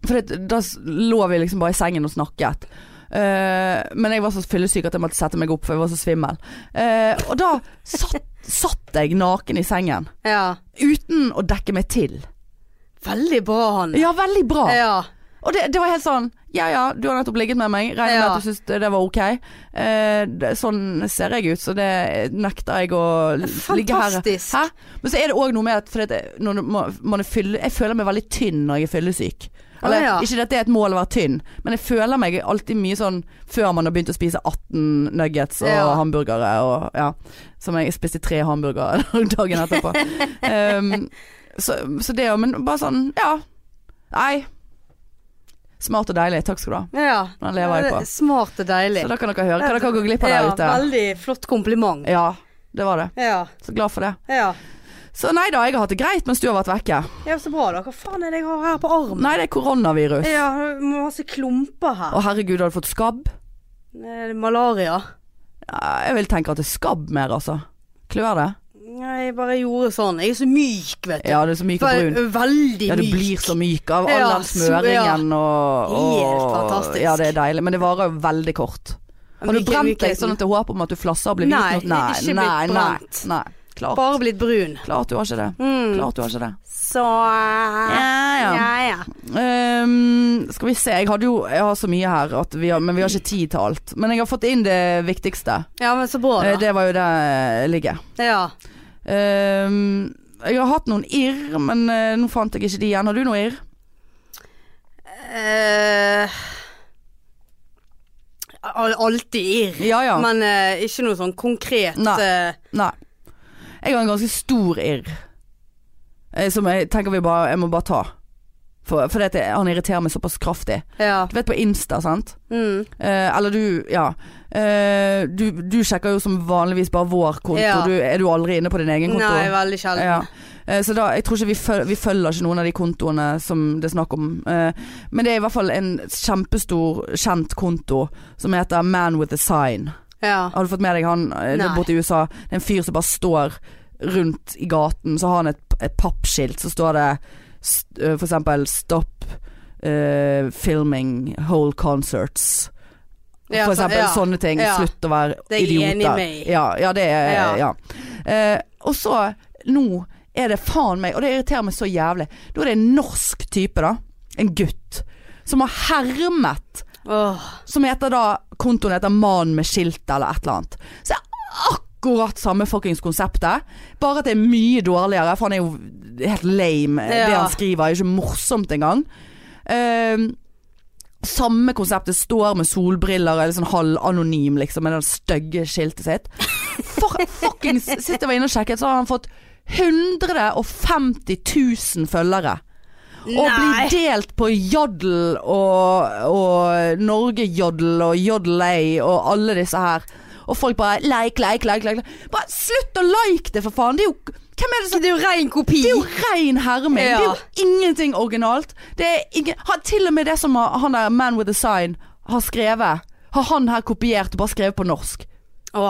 [SPEAKER 1] For det, da s- lå vi liksom bare i sengen og snakket. Eh, men jeg var så fyllesyk at jeg måtte sette meg opp, for jeg var så svimmel. Eh, og da satt, satt jeg naken i sengen.
[SPEAKER 2] Ja.
[SPEAKER 1] Uten å dekke meg til.
[SPEAKER 2] Veldig bra, han.
[SPEAKER 1] Ja, veldig bra.
[SPEAKER 2] ja.
[SPEAKER 1] Og det, det var helt sånn Ja ja, du har nettopp ligget med meg. Regner med
[SPEAKER 2] Ja.
[SPEAKER 1] at du syns det det var ok. Eh, det, sånn ser jeg ut, så det nekter jeg å l- ligge her.
[SPEAKER 2] Fantastisk.
[SPEAKER 1] Hæ? Men så er det òg noe med at fordi at jeg- når du må- man er fylle, Jeg føler meg veldig tynn når jeg er fyllesyk. Eller,
[SPEAKER 2] Å, ja.
[SPEAKER 1] Ikke at det er et mål å være tynn, men jeg føler meg alltid mye sånn før man har begynt å spise 18 nuggets og
[SPEAKER 2] Ja.
[SPEAKER 1] hamburgere og ja. Som jeg spiste tre hamburgere [laughs] dagen etterpå. um, så, så det òg, men bare sånn ja. Nei. Smart og deilig. Takk skal du ha.
[SPEAKER 2] ja.
[SPEAKER 1] Den lever jeg
[SPEAKER 2] Ja, det
[SPEAKER 1] på.
[SPEAKER 2] er Smart og deilig.
[SPEAKER 1] Så da kan dere høre hva dere går glipp av der
[SPEAKER 2] ja,
[SPEAKER 1] ute.
[SPEAKER 2] Veldig flott kompliment.
[SPEAKER 1] Ja, det var det.
[SPEAKER 2] Ja.
[SPEAKER 1] Så glad for det.
[SPEAKER 2] Ja.
[SPEAKER 1] Så nei da, jeg har hatt det greit mens du har vært vekke.
[SPEAKER 2] ja, så bra, da. Hva faen er det jeg har her på armen?
[SPEAKER 1] Nei, det er koronavirus.
[SPEAKER 2] Ja, må ha så klumper her.
[SPEAKER 1] Å herregud, har du fått skabb?
[SPEAKER 2] Eh, Malaria.
[SPEAKER 1] Ja, jeg vil tenke at det er skabb mer, altså. Klør det?
[SPEAKER 2] Nei, jeg bare gjorde sånn. Jeg er så myk, vet du.
[SPEAKER 1] Ja, du er så myk og brun.
[SPEAKER 2] Ve- Veldig
[SPEAKER 1] Ja, du
[SPEAKER 2] myk.
[SPEAKER 1] blir så myk av all
[SPEAKER 2] Ja,
[SPEAKER 1] den
[SPEAKER 2] så- ja.
[SPEAKER 1] smøringen og, og
[SPEAKER 2] Helt fantastisk.
[SPEAKER 1] Ja, det er deilig. Men det varer jo veldig kort. Har du
[SPEAKER 2] Myk-
[SPEAKER 1] brent deg
[SPEAKER 2] mykheten.
[SPEAKER 1] sånn at det er håp om at du flasser og blir hvit?
[SPEAKER 2] Nei,
[SPEAKER 1] nå? nei,
[SPEAKER 2] ikke blitt
[SPEAKER 1] nei, nei,
[SPEAKER 2] brent.
[SPEAKER 1] nei. Klart.
[SPEAKER 2] Bare blitt brun. Mm.
[SPEAKER 1] Klart du har ikke det. Klart du har ikke det.
[SPEAKER 2] Så eh,
[SPEAKER 1] ja.
[SPEAKER 2] ja.
[SPEAKER 1] Ehm, skal vi se, jeg, hadde jo, jeg har så mye her, at vi har, men vi har ikke tid til alt. Men jeg har fått inn det viktigste.
[SPEAKER 2] Ja, men så bra,
[SPEAKER 1] Eh,
[SPEAKER 2] da.
[SPEAKER 1] Det var jo det jeg ligger.
[SPEAKER 2] Ja.
[SPEAKER 1] Ehm, jeg har hatt noen irr, men eh, nå fant jeg ikke de igjen. Har du noe irr?
[SPEAKER 2] Eh, al- alltid irr.
[SPEAKER 1] Ja ja.
[SPEAKER 2] Men eh, ikke noe sånn konkret.
[SPEAKER 1] Nei.
[SPEAKER 2] eh,
[SPEAKER 1] Nei. Jeg har en ganske stor irr. eh, Som jeg tenker vi bare Jeg må bare ta. For, for det, han irriterer meg såpass kraftig.
[SPEAKER 2] ja.
[SPEAKER 1] Du vet på Insta, sant?
[SPEAKER 2] Mm.
[SPEAKER 1] Eh, eller du, ja. Eh, du, du sjekker jo som vanligvis bare vår konto.
[SPEAKER 2] Ja.
[SPEAKER 1] Du, er du aldri inne på din egen konto?
[SPEAKER 2] Nei, veldig sjelden.
[SPEAKER 1] ja. Eh, Så da, jeg tror ikke vi følger, vi følger ikke noen av de kontoene som det er snakk om. Eh, Men det er i hvert fall en kjempestor, kjent konto som heter Man with a sign.
[SPEAKER 2] Ja.
[SPEAKER 1] Har du fått med deg han? Eh, Det
[SPEAKER 2] Nei.
[SPEAKER 1] er borte i USA. Det er en fyr som bare står rundt i gaten, så har han et, et pappskilt, så står det st- eh, for eksempel Stop eh, filming whole concerts.
[SPEAKER 2] Ja,
[SPEAKER 1] For
[SPEAKER 2] så-
[SPEAKER 1] eksempel sånn-
[SPEAKER 2] ja.
[SPEAKER 1] sånne ting.
[SPEAKER 2] Ja.
[SPEAKER 1] Slutt å være
[SPEAKER 2] Det er jeg
[SPEAKER 1] idioter.
[SPEAKER 2] enig med.
[SPEAKER 1] Ja, ja, det er
[SPEAKER 2] Ja.
[SPEAKER 1] ja. Eh, og så, nå er det faen meg, og det irriterer meg så jævlig. Nå er det en norsk type, da. En gutt. Som har hermet.
[SPEAKER 2] Åh,
[SPEAKER 1] Som heter da Kontoen heter 'Mannen med skiltet' eller et eller annet. Så det er akkurat samme fuckings konseptet. Bare at det er mye dårligere, for han er jo helt lame. Det
[SPEAKER 2] Ja.
[SPEAKER 1] han skriver er jo ikke morsomt engang. Ehm, samme konseptet står med solbriller og er litt sånn halvanonym, liksom, med det stygge skiltet sitt. For, fuckings Sitter jeg inne og sjekket, så har han fått 150 000 følgere. Og
[SPEAKER 2] Nei.
[SPEAKER 1] blir delt på Jodel og, og Norgejodel og Jodelay og alle disse her. Og folk bare like, like, like. like. Bare slutt å like det, for faen! Det er jo, hvem er det som
[SPEAKER 2] Det er jo rein kopi.
[SPEAKER 1] det er jo rein herming.
[SPEAKER 2] Ja.
[SPEAKER 1] Det er jo ingenting originalt. Det er ingen, han, til og med det som har- han der Man with a sign har skrevet, har han her kopiert og bare skrevet på norsk.
[SPEAKER 2] Å,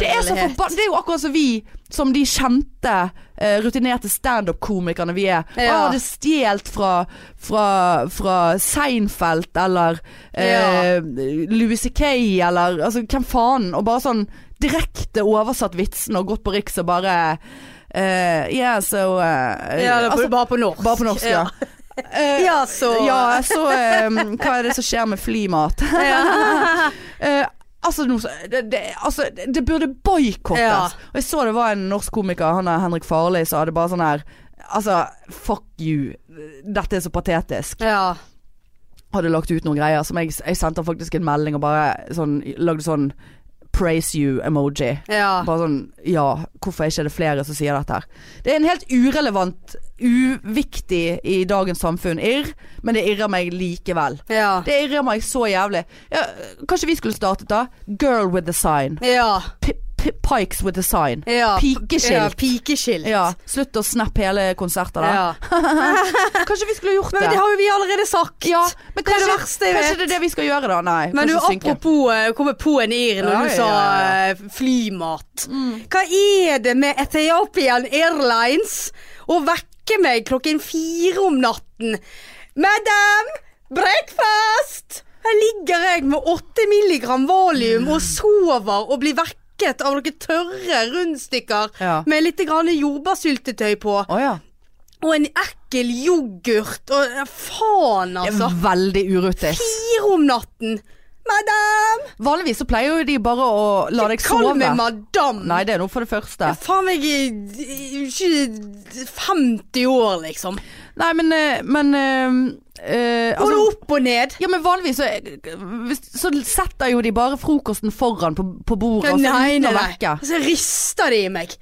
[SPEAKER 1] Det er, så
[SPEAKER 2] herlighet.
[SPEAKER 1] forba- det er jo akkurat som vi, som de kjente, eh, rutinerte standup-komikerne vi er. Bare
[SPEAKER 2] Ja.
[SPEAKER 1] hadde stjålet fra, fra, fra Seinfeld eller eh, Louis C.K. eller altså, hvem faen. Og bare sånn direkte oversatt vitsen og gått på Riks og bare eh, Yeah, so eh,
[SPEAKER 2] ja, det er
[SPEAKER 1] altså,
[SPEAKER 2] bare på norsk.
[SPEAKER 1] Bare på norsk, ja. Eh,
[SPEAKER 2] [laughs] Ja, så
[SPEAKER 1] ja, så eh, Hva er det som skjer med flymat?
[SPEAKER 2] Ja.
[SPEAKER 1] Eh, Altså, noe så- det, det, altså, det burde boikottes.
[SPEAKER 2] Ja.
[SPEAKER 1] Og jeg så det var en norsk komiker, han er Henrik Farley, som hadde bare sånn her Altså, fuck you. Dette er så patetisk.
[SPEAKER 2] [laughs] Ja.
[SPEAKER 1] Hadde lagt ut noen greier som jeg, jeg sendte han faktisk en melding og bare sånn, lagde sånn praise you-emoji.
[SPEAKER 2] Ja.
[SPEAKER 1] Bare sånn Ja, hvorfor er ikke det flere som sier dette her? Det er en helt urelevant, uviktig i dagens samfunn irr, men det irrer meg likevel.
[SPEAKER 2] Ja.
[SPEAKER 1] Det irrer meg så jævlig. Ja, kanskje vi skulle startet da? Girl with a sign.
[SPEAKER 2] Ja.
[SPEAKER 1] P p pikes with a sign.
[SPEAKER 2] ja.
[SPEAKER 1] Pikeskilt.
[SPEAKER 2] Ja, pikeskilt.
[SPEAKER 1] Ja, slutt å snappe hele konserter da.
[SPEAKER 2] Ja.
[SPEAKER 1] Kanskje vi skulle gjort
[SPEAKER 2] Men
[SPEAKER 1] det?
[SPEAKER 2] det har jo vi allerede sagt.
[SPEAKER 1] Ja, men
[SPEAKER 2] Det
[SPEAKER 1] kanskje,
[SPEAKER 2] er det verste jeg
[SPEAKER 1] kanskje
[SPEAKER 2] vet.
[SPEAKER 1] det er det vi skal gjøre da? Nei.
[SPEAKER 2] Men du,
[SPEAKER 1] kanskje synke.
[SPEAKER 2] apropos eh, komme på en ir når
[SPEAKER 1] Ja,
[SPEAKER 2] du
[SPEAKER 1] ja,
[SPEAKER 2] sa
[SPEAKER 1] ja, Mm.
[SPEAKER 2] eh, flymat. Hva er det med Ethiopian Airlines å vekke meg klokken fire om natten? Madam, breakfast! Her ligger jeg med åtte milligram valium og sover og blir vekket av noen tørre rundstykker
[SPEAKER 1] Ja.
[SPEAKER 2] med litt grann jordbærsyltetøy på.
[SPEAKER 1] Å ja.
[SPEAKER 2] Og en ekkel yoghurt og ja, faen,
[SPEAKER 1] Det er
[SPEAKER 2] altså.
[SPEAKER 1] Veldig urutis.
[SPEAKER 2] Fire om natten! Madam!
[SPEAKER 1] Vanligvis så pleier jo de bare å la deg sove.
[SPEAKER 2] Kall meg madam.
[SPEAKER 1] Nei, det er noe for det første.
[SPEAKER 2] Faen meg i- ikke 50 år, liksom.
[SPEAKER 1] Nei, men, eh, men eh, eh,
[SPEAKER 2] Går
[SPEAKER 1] altså,
[SPEAKER 2] det opp og ned?
[SPEAKER 1] ja, men vanligvis så, hvis- så setter jo de bare frokosten foran på, på bordet. og så
[SPEAKER 2] nei,
[SPEAKER 1] uten å
[SPEAKER 2] nei, nei.
[SPEAKER 1] vekke.
[SPEAKER 2] Så rister de i meg.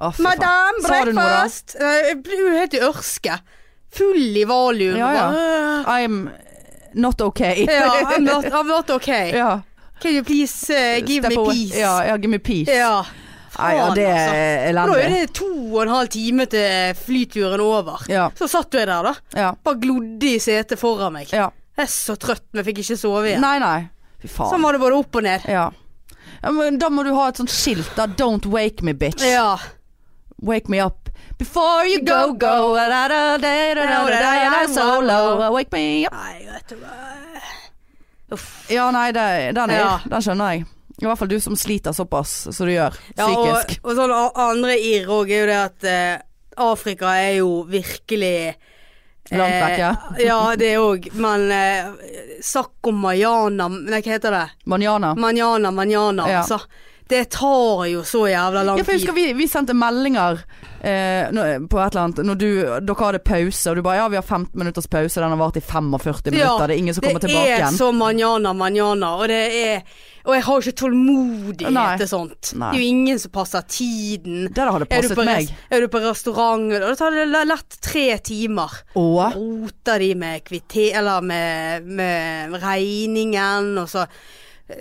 [SPEAKER 1] Å, fy faen.
[SPEAKER 2] Madam,
[SPEAKER 1] Sa du noe da?
[SPEAKER 2] breakfast! Nei, Jeg blir jo helt i ørske. Full i valium.
[SPEAKER 1] Ja, ja.
[SPEAKER 2] Bare,
[SPEAKER 1] I'm not okay.
[SPEAKER 2] øh. ja I'm,
[SPEAKER 1] [laughs]
[SPEAKER 2] not, I'm not okay.
[SPEAKER 1] Ja.
[SPEAKER 2] Can you please eh, give
[SPEAKER 1] Step
[SPEAKER 2] me
[SPEAKER 1] away.
[SPEAKER 2] peace?
[SPEAKER 1] Ja, ja, give me peace.
[SPEAKER 2] Ja.
[SPEAKER 1] Nei, ja,
[SPEAKER 2] Faen,
[SPEAKER 1] det
[SPEAKER 2] altså.
[SPEAKER 1] er
[SPEAKER 2] For Da er
[SPEAKER 1] elendig.
[SPEAKER 2] det to og en halv time til flyturen over.
[SPEAKER 1] Ja.
[SPEAKER 2] Så satt du der, da.
[SPEAKER 1] Ja.
[SPEAKER 2] Bare glodde i setet foran meg.
[SPEAKER 1] ja.
[SPEAKER 2] Jeg er så trøtt, men fikk ikke sove igjen.
[SPEAKER 1] Nei, nei. Fy
[SPEAKER 2] Sånn
[SPEAKER 1] faen.
[SPEAKER 2] var det både opp og ned.
[SPEAKER 1] Ja. Ja, men da må du ha et sånt skilt da. Don't wake me, bitch.
[SPEAKER 2] Ja.
[SPEAKER 1] Wake me up before you go go. Da, da, da, da, da, da, da, solo. Wake me up.
[SPEAKER 2] Nei, vet du hva. Uff.
[SPEAKER 1] Ja, nei, det, den, er,
[SPEAKER 2] Ja.
[SPEAKER 1] den skjønner jeg. I hvert fall du som sliter såpass som du gjør,
[SPEAKER 2] Ja,
[SPEAKER 1] psykisk.
[SPEAKER 2] Og, og sånn a- andre irr òg er jo det at eh, Afrika er jo virkelig eh,
[SPEAKER 1] Langt vekk, ja.
[SPEAKER 2] [laughs] ja, det òg. Men eh, sakk om Mayana Nei, hva heter det?
[SPEAKER 1] Manjana.
[SPEAKER 2] Manjana, manjana,
[SPEAKER 1] Ja.
[SPEAKER 2] altså. Det tar jo så jævla lang
[SPEAKER 1] Ja, for jeg husker
[SPEAKER 2] tid.
[SPEAKER 1] vi, vi sendte meldinger eh, nå- på et eller annet Når du, dere hadde pause, og du bare ja, vi har 15 minutters pause, den har vart i 45 minutter,
[SPEAKER 2] Ja,
[SPEAKER 1] det er ingen som kommer tilbake
[SPEAKER 2] Det er
[SPEAKER 1] igjen.
[SPEAKER 2] så manjana, manjana, og det er Og jeg har jo ikke tålmodighet
[SPEAKER 1] Nei.
[SPEAKER 2] til sånt.
[SPEAKER 1] Nei.
[SPEAKER 2] Det er jo ingen som passer tiden.
[SPEAKER 1] Det der hadde
[SPEAKER 2] Er du,
[SPEAKER 1] passet
[SPEAKER 2] på
[SPEAKER 1] meg.
[SPEAKER 2] res- er du på restaurant, og da tar det le- lett tre timer.
[SPEAKER 1] Og
[SPEAKER 2] Roter de med kvitter... Eller med, med regningen, og så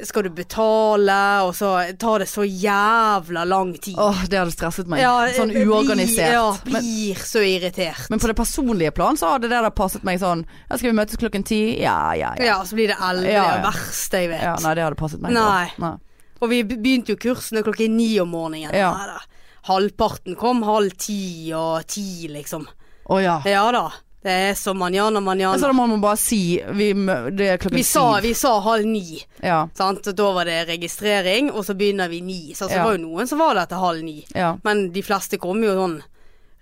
[SPEAKER 2] skal du betale, og så tar det så jævla lang tid.
[SPEAKER 1] Åh, det hadde stresset meg.
[SPEAKER 2] Ja,
[SPEAKER 1] sånn
[SPEAKER 2] jeg blir-
[SPEAKER 1] uorganisert.
[SPEAKER 2] Ja,
[SPEAKER 1] men,
[SPEAKER 2] blir så irritert.
[SPEAKER 1] men på det personlige plan så hadde det der passet meg sånn ja, Skal vi møtes klokken ti? Ja, ja, ja.
[SPEAKER 2] Ja, så blir det elleve.
[SPEAKER 1] Ja, ja.
[SPEAKER 2] Det er det verste jeg vet.
[SPEAKER 1] ja. Nei, det hadde passet meg.
[SPEAKER 2] Nei.
[SPEAKER 1] bra. Nei.
[SPEAKER 2] Og vi be- begynte jo kursene klokken ni om morgenen.
[SPEAKER 1] Ja.
[SPEAKER 2] Nei da. Halvparten kom halv ti og ti, liksom.
[SPEAKER 1] Å ja.
[SPEAKER 2] Ja da. Det er så manjana,
[SPEAKER 1] Men Så
[SPEAKER 2] manjana.
[SPEAKER 1] da må man bare si vi, mø- Det er klokken
[SPEAKER 2] Vi sa,
[SPEAKER 1] syv.
[SPEAKER 2] vi sa halv ni,
[SPEAKER 1] Ja,
[SPEAKER 2] sant. Og Da var det registrering, og så begynner vi ni. Så det
[SPEAKER 1] Ja.
[SPEAKER 2] var jo noen som var der til halv ni.
[SPEAKER 1] ja.
[SPEAKER 2] Men de fleste kom jo sånn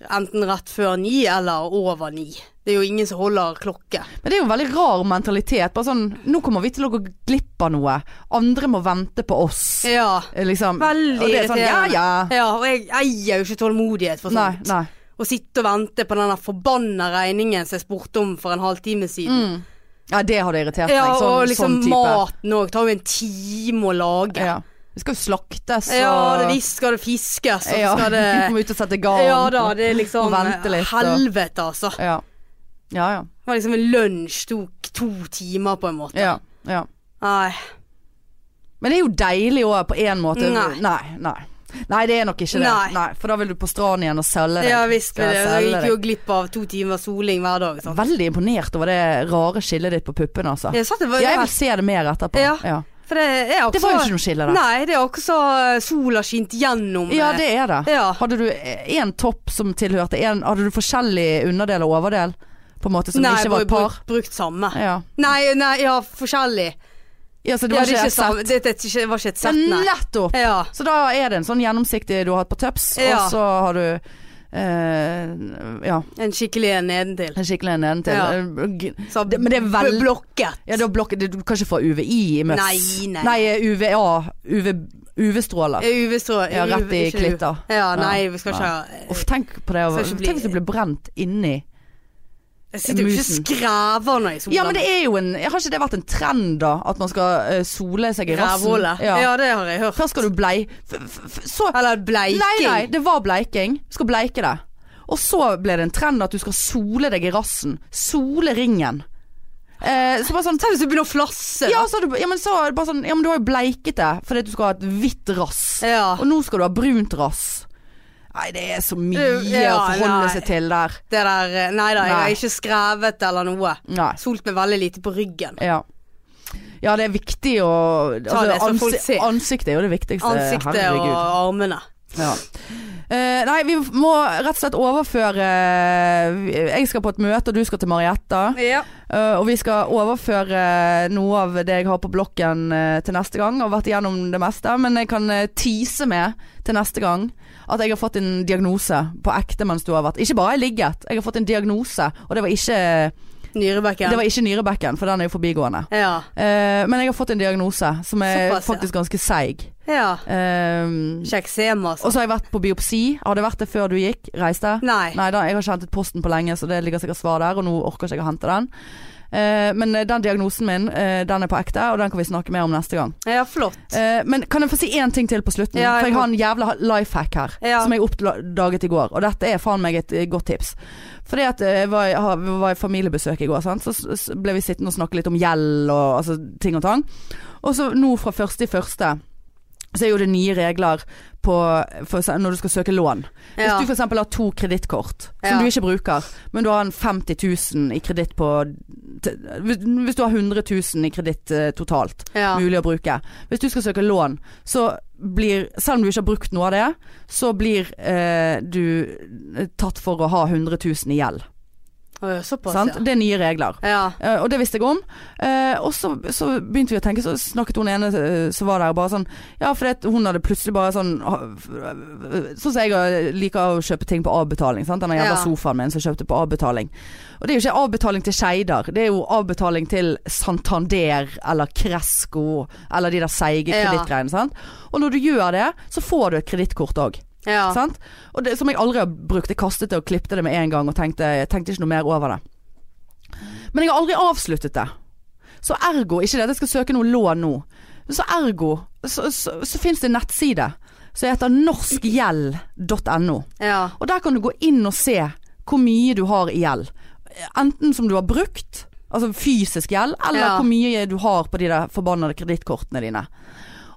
[SPEAKER 2] enten rett før ni eller over ni. Det er jo ingen som holder klokke.
[SPEAKER 1] Men det er jo en veldig rar mentalitet. Bare sånn Nå kommer vi til å gå glipp av noe. Andre må vente på oss.
[SPEAKER 2] Ja.
[SPEAKER 1] Eh, Liksom.
[SPEAKER 2] Veldig
[SPEAKER 1] og det er sånn, ja,
[SPEAKER 2] irriterende.
[SPEAKER 1] ja.
[SPEAKER 2] ja, og jeg eier jo ikke tålmodighet for
[SPEAKER 1] Nei,
[SPEAKER 2] sånt.
[SPEAKER 1] nei.
[SPEAKER 2] Å sitte og vente på den der forbanna regningen som jeg spurte om for en halvtime siden.
[SPEAKER 1] Mm. Ja, det hadde irritert
[SPEAKER 2] Mm. Ja,
[SPEAKER 1] meg. Sånn,
[SPEAKER 2] og liksom
[SPEAKER 1] sånn type.
[SPEAKER 2] maten òg. Tar jo en time å lage. Ja,
[SPEAKER 1] Ja. Vi skal jo slaktes
[SPEAKER 2] det visst skal det fiskes, og
[SPEAKER 1] Ja,
[SPEAKER 2] så skal
[SPEAKER 1] vi [laughs]
[SPEAKER 2] det
[SPEAKER 1] må ut og sette garn.
[SPEAKER 2] Ja da, det er liksom
[SPEAKER 1] Og vente litt, og-
[SPEAKER 2] helvete, altså. Det
[SPEAKER 1] Ja. Ja, ja.
[SPEAKER 2] var liksom en lunsj tok to timer, på en måte.
[SPEAKER 1] ja, ja.
[SPEAKER 2] Nei.
[SPEAKER 1] Men det er jo deilig òg, på én måte.
[SPEAKER 2] Nei.
[SPEAKER 1] nei. Nei, Nei, det er nok ikke det.
[SPEAKER 2] Nei.
[SPEAKER 1] for da vil du på stranden igjen og selge deg.
[SPEAKER 2] Ja visst
[SPEAKER 1] Skal
[SPEAKER 2] blir det.
[SPEAKER 1] jeg
[SPEAKER 2] Jeg
[SPEAKER 1] selge
[SPEAKER 2] gikk
[SPEAKER 1] deg?
[SPEAKER 2] jo glipp av to timer soling hver dag. Sant?
[SPEAKER 1] Veldig imponert over det rare skillet ditt på puppene, altså.
[SPEAKER 2] Jeg satt, det var,
[SPEAKER 1] Jeg vil se det mer etterpå.
[SPEAKER 2] Ja. for det, er
[SPEAKER 1] Det var jo ikke noe skille, da.
[SPEAKER 2] Nei, det er også sola skint gjennom.
[SPEAKER 1] Ja,
[SPEAKER 2] eh,
[SPEAKER 1] det er det.
[SPEAKER 2] ja.
[SPEAKER 1] Hadde du én topp som tilhørte en, Hadde du forskjellig underdel og overdel? På en måte som
[SPEAKER 2] Nei,
[SPEAKER 1] ikke var et
[SPEAKER 2] bru-
[SPEAKER 1] par?
[SPEAKER 2] brukt samme.
[SPEAKER 1] Ja.
[SPEAKER 2] Nei, nei, ja, forskjellig.
[SPEAKER 1] ja, så det
[SPEAKER 2] Det var,
[SPEAKER 1] var
[SPEAKER 2] ja, det er
[SPEAKER 1] ikke
[SPEAKER 2] ikke
[SPEAKER 1] et sett.
[SPEAKER 2] samme. Det, det, er ikke- det var ikke et sett,
[SPEAKER 1] Men
[SPEAKER 2] nei.
[SPEAKER 1] Nettopp!
[SPEAKER 2] Ja.
[SPEAKER 1] Så da er det en sånn gjennomsiktig du har hatt på tøps,
[SPEAKER 2] Ja.
[SPEAKER 1] og så har du eh, Ja,
[SPEAKER 2] En skikkelig en nedentil.
[SPEAKER 1] en skikkelig en nedentil.
[SPEAKER 2] Ja.
[SPEAKER 1] Eh, g-
[SPEAKER 2] Så
[SPEAKER 1] Det- men det er vel-
[SPEAKER 2] Blokket.
[SPEAKER 1] Ja, da blokker det- Du kan ikke få UVI i møss.
[SPEAKER 2] Nei, nei.
[SPEAKER 1] UVA. UV, UV-stråler.
[SPEAKER 2] UV-strå.
[SPEAKER 1] Ja, rett i
[SPEAKER 2] ikke UV.
[SPEAKER 1] klitter.
[SPEAKER 2] Ja, nei,
[SPEAKER 1] Ja.
[SPEAKER 2] vi skal ikke ha
[SPEAKER 1] Uff, tenk på det. å-
[SPEAKER 2] Skal ikke bli-
[SPEAKER 1] Tenk hvis du blir brent inni
[SPEAKER 2] Jeg sitter jo ikke og
[SPEAKER 1] musen.
[SPEAKER 2] skrever når jeg soler.
[SPEAKER 1] Ja, men det er jo en Har ikke det vært en trend, da? At man skal eh, sole seg i rassen?
[SPEAKER 2] Rævhullet. Ja.
[SPEAKER 1] Ja.
[SPEAKER 2] det har jeg hørt.
[SPEAKER 1] Først skal du blei... f- f- f- Så
[SPEAKER 2] Eller bleiking.
[SPEAKER 1] Nei, nei, det var bleiking. Du skal bleike det. Og så ble det en trend at du skal sole deg i rassen. Sole ringen. Eh, så bare sånn
[SPEAKER 2] Tenk hvis du begynner å flasse.
[SPEAKER 1] ja, så har du, ja, men så er det bare sånn Ja, men du har jo bleiket det fordi at du skal ha et hvitt rass.
[SPEAKER 2] Ja.
[SPEAKER 1] Og nå skal du ha brunt rass. Nei, det er så mye
[SPEAKER 2] Du, ja,
[SPEAKER 1] å forholde
[SPEAKER 2] nei.
[SPEAKER 1] seg til der.
[SPEAKER 2] Det der eh, Nei da, jeg
[SPEAKER 1] Nei.
[SPEAKER 2] har ikke skrevet eller noe.
[SPEAKER 1] Nei.
[SPEAKER 2] Solt meg veldig lite på ryggen.
[SPEAKER 1] Ja. Ja, det er viktig å altså,
[SPEAKER 2] det så folk
[SPEAKER 1] ansi-
[SPEAKER 2] ser.
[SPEAKER 1] Ansiktet er jo det viktigste.
[SPEAKER 2] Ansiktet og
[SPEAKER 1] Herregud.
[SPEAKER 2] armene.
[SPEAKER 1] Ja. Eh, nei, vi må rett og slett overføre Jeg skal på et møte, og du skal til Marietta.
[SPEAKER 2] Ja.
[SPEAKER 1] Eh, og vi skal overføre noe av det jeg har på blokken eh, til neste gang. Og vært igjennom det meste. Men jeg kan eh, tease med til neste gang at jeg har fått en diagnose på ekte mens du har vært Ikke bare har jeg ligget, jeg har fått en diagnose. Og det var ikke,
[SPEAKER 2] Nyrebekken.
[SPEAKER 1] det var ikke nyrebekken, for den er jo forbigående.
[SPEAKER 2] Ja.
[SPEAKER 1] Eh, men jeg har fått en diagnose som er
[SPEAKER 2] Såpass, ja.
[SPEAKER 1] faktisk ganske seig.
[SPEAKER 2] ja.
[SPEAKER 1] Eh,
[SPEAKER 2] Ikke eksem,
[SPEAKER 1] og
[SPEAKER 2] altså.
[SPEAKER 1] så har jeg vært på biopsi. Hadde vært det før du gikk? Reiste?
[SPEAKER 2] Nei.
[SPEAKER 1] Nei da, jeg har ikke hentet posten på lenge, så det ligger sikkert svar der, og nå orker ikke jeg å hente den. Eh, men eh, den diagnosen min, eh, den er på ekte, og den kan vi snakke mer om neste gang.
[SPEAKER 2] Ja, flott.
[SPEAKER 1] Eh, men kan jeg få si én ting til på slutten?
[SPEAKER 2] Ja, jeg
[SPEAKER 1] For jeg
[SPEAKER 2] må-
[SPEAKER 1] har en jævla life hack her,
[SPEAKER 2] Ja.
[SPEAKER 1] som jeg oppdaget i går. Og dette er faen meg et eh, godt tips. Fordi at eh, jeg var, i- ha- vi var i familiebesøk i går, sant? så s- s- ble vi sittende og snakke litt om gjeld og altså, ting og tang. Og så nå fra første i første, så er jo det nye regler på, for, se- når du skal søke lån. Hvis
[SPEAKER 2] Ja.
[SPEAKER 1] du f.eks. har to kredittkort som
[SPEAKER 2] Ja.
[SPEAKER 1] du ikke bruker, men du har en 50 000 i kreditt på t- hvis, hvis du har 100 000 i kreditt eh, totalt,
[SPEAKER 2] Ja.
[SPEAKER 1] mulig å bruke. Hvis du skal søke lån, så blir Selv om du ikke har brukt noe av det, så blir eh, du tatt for å ha 100 000 i gjeld.
[SPEAKER 2] Å, ja, Såpass,
[SPEAKER 1] Sant? Det er nye regler.
[SPEAKER 2] ja. Ja.
[SPEAKER 1] Eh, og det visste jeg om. Eh, og så, så begynte vi å tenke, så snakket hun ene eh, som var der, og bare sånn Ja, fordi at hun hadde plutselig bare sånn ha- f- Sånn som jeg liker å kjøpe ting på avbetaling. Sant? Den jævla
[SPEAKER 2] Ja.
[SPEAKER 1] sofaen min som jeg kjøpte på avbetaling. Og det er jo ikke avbetaling til Skeidar, det er jo avbetaling til Santander eller Cresco eller de der seige
[SPEAKER 2] Ja.
[SPEAKER 1] kredittgreiene. sant? Og når du gjør det, så får du et kredittkort òg.
[SPEAKER 2] ja.
[SPEAKER 1] Sant? Og det, som jeg aldri har brukt. Jeg kastet det og klippte det med en gang og tenkte, jeg tenkte ikke noe mer over det. Men jeg har aldri avsluttet det. Så ergo, ikke det at jeg skal søke noe lån nå, så ergo så, så, så finnes det en nettside som heter norskgjeld.no.
[SPEAKER 2] ja.
[SPEAKER 1] Og der kan du gå inn og se hvor mye du har i gjeld. Enten som du har brukt, altså fysisk gjeld, eller
[SPEAKER 2] Ja.
[SPEAKER 1] hvor mye du har på de der forbannede kredittkortene dine.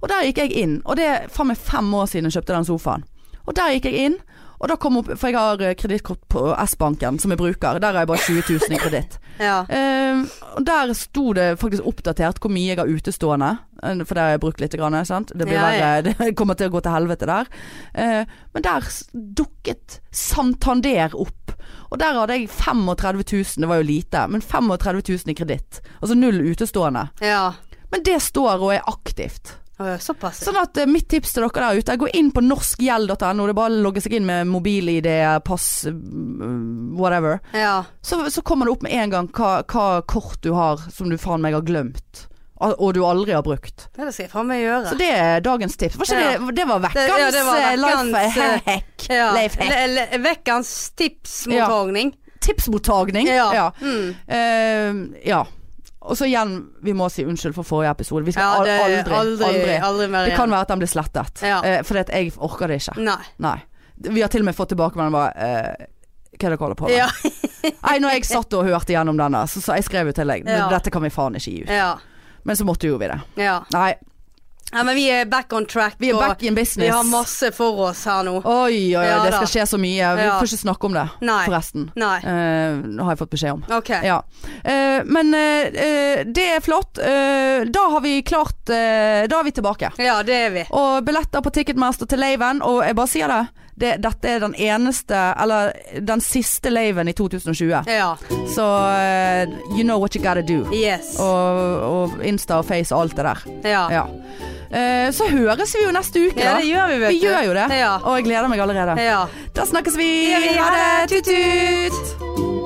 [SPEAKER 1] Og der gikk jeg inn, og det er faen meg fem år siden jeg kjøpte den sofaen. Og der gikk jeg inn, og da kom opp, for jeg har eh, kredittkort på S-banken som jeg bruker, der har jeg bare 20 000 i kreditt.
[SPEAKER 2] ja.
[SPEAKER 1] Eh, og der sto det faktisk oppdatert hvor mye jeg har utestående. eh, For det har jeg brukt litt. Grann, sant? Det blir
[SPEAKER 2] Ja, ja.
[SPEAKER 1] verre. [laughs] Det kommer til å gå til helvete der. Eh, men der s- dukket Santander opp. Og der hadde jeg 35 000, det var jo lite, men 35 000 i kreditt. Altså null utestående.
[SPEAKER 2] ja.
[SPEAKER 1] Men det står og er aktivt.
[SPEAKER 2] Å, ja. Såpass. ja.
[SPEAKER 1] Sånn at eh, mitt tips til dere der ute, er gå inn på norskgjeld.no. Det er bare å logge seg inn med mobil-ID, pass, mm, whatever
[SPEAKER 2] Ja.
[SPEAKER 1] så, så kommer det opp med en gang hva, hva kort du har som du faen meg har glemt. Al- Og du aldri har brukt.
[SPEAKER 2] Det skal jeg faen meg gjøre.
[SPEAKER 1] Så det er dagens tips. Var ikke
[SPEAKER 2] Ja.
[SPEAKER 1] det, det var vekkans
[SPEAKER 2] ja, det var
[SPEAKER 1] eh,
[SPEAKER 2] vekkans,
[SPEAKER 1] life
[SPEAKER 2] eh,
[SPEAKER 1] hack.
[SPEAKER 2] Ja.
[SPEAKER 1] Life hack.
[SPEAKER 2] Le- le- Vekkens tipsmottagning.
[SPEAKER 1] Tipsmottagning. Ja. Ja.
[SPEAKER 2] Mm.
[SPEAKER 1] Eh, ja. Og så igjen, vi må si unnskyld for forrige episode. Vi skal
[SPEAKER 2] ja
[SPEAKER 1] al-
[SPEAKER 2] det,
[SPEAKER 1] aldri, aldri,
[SPEAKER 2] aldri, aldri mer
[SPEAKER 1] Det kan
[SPEAKER 2] igjen.
[SPEAKER 1] være at den blir slettet.
[SPEAKER 2] Ja.
[SPEAKER 1] Eh, fordi at jeg orker det ikke.
[SPEAKER 2] Nei.
[SPEAKER 1] Nei. Vi har til og med fått tilbake med den bare eh, Hva er det dere holder på med?
[SPEAKER 2] Ja.
[SPEAKER 1] Nei, når jeg satt og hørte gjennom denne, så, så jeg skrev jo til deg
[SPEAKER 2] Ja.
[SPEAKER 1] Dette kan vi faen ikke gi ut.
[SPEAKER 2] Ja.
[SPEAKER 1] Men så måtte jo vi det.
[SPEAKER 2] ja.
[SPEAKER 1] Nei,
[SPEAKER 2] Ja, men vi er back on track.
[SPEAKER 1] vi er
[SPEAKER 2] og
[SPEAKER 1] back in
[SPEAKER 2] vi
[SPEAKER 1] business.
[SPEAKER 2] har masse for oss her nå.
[SPEAKER 1] Oi, oi, oi,
[SPEAKER 2] Ja
[SPEAKER 1] det
[SPEAKER 2] da.
[SPEAKER 1] skal skje så mye. Vi
[SPEAKER 2] Ja.
[SPEAKER 1] får ikke snakke om det,
[SPEAKER 2] Nei.
[SPEAKER 1] forresten.
[SPEAKER 2] Nei.
[SPEAKER 1] Eh, nå har jeg fått beskjed om.
[SPEAKER 2] Ok.
[SPEAKER 1] Ja. Eh, men eh, eh, det er flott. Eh, da har vi klart eh, Da er vi tilbake.
[SPEAKER 2] Ja, det er vi.
[SPEAKER 1] Og billetter på Ticketmaster til laven, og jeg bare sier det. det dette er den eneste, eller den siste laven i 2020.
[SPEAKER 2] Ja.
[SPEAKER 1] Så eh, you know what you gotta do.
[SPEAKER 2] Yes.
[SPEAKER 1] Og, og Insta og Face og alt det der.
[SPEAKER 2] Ja.
[SPEAKER 1] Ja. Eh, Så høres vi jo neste uke, da.
[SPEAKER 2] Ja, det gjør vi, vet
[SPEAKER 1] Vi
[SPEAKER 2] du.
[SPEAKER 1] gjør jo det.
[SPEAKER 2] Ja.
[SPEAKER 1] Og jeg gleder meg allerede.
[SPEAKER 2] Ja.
[SPEAKER 1] Da snakkes vi.
[SPEAKER 2] Ja, vi- ha det.
[SPEAKER 1] Tut-tut.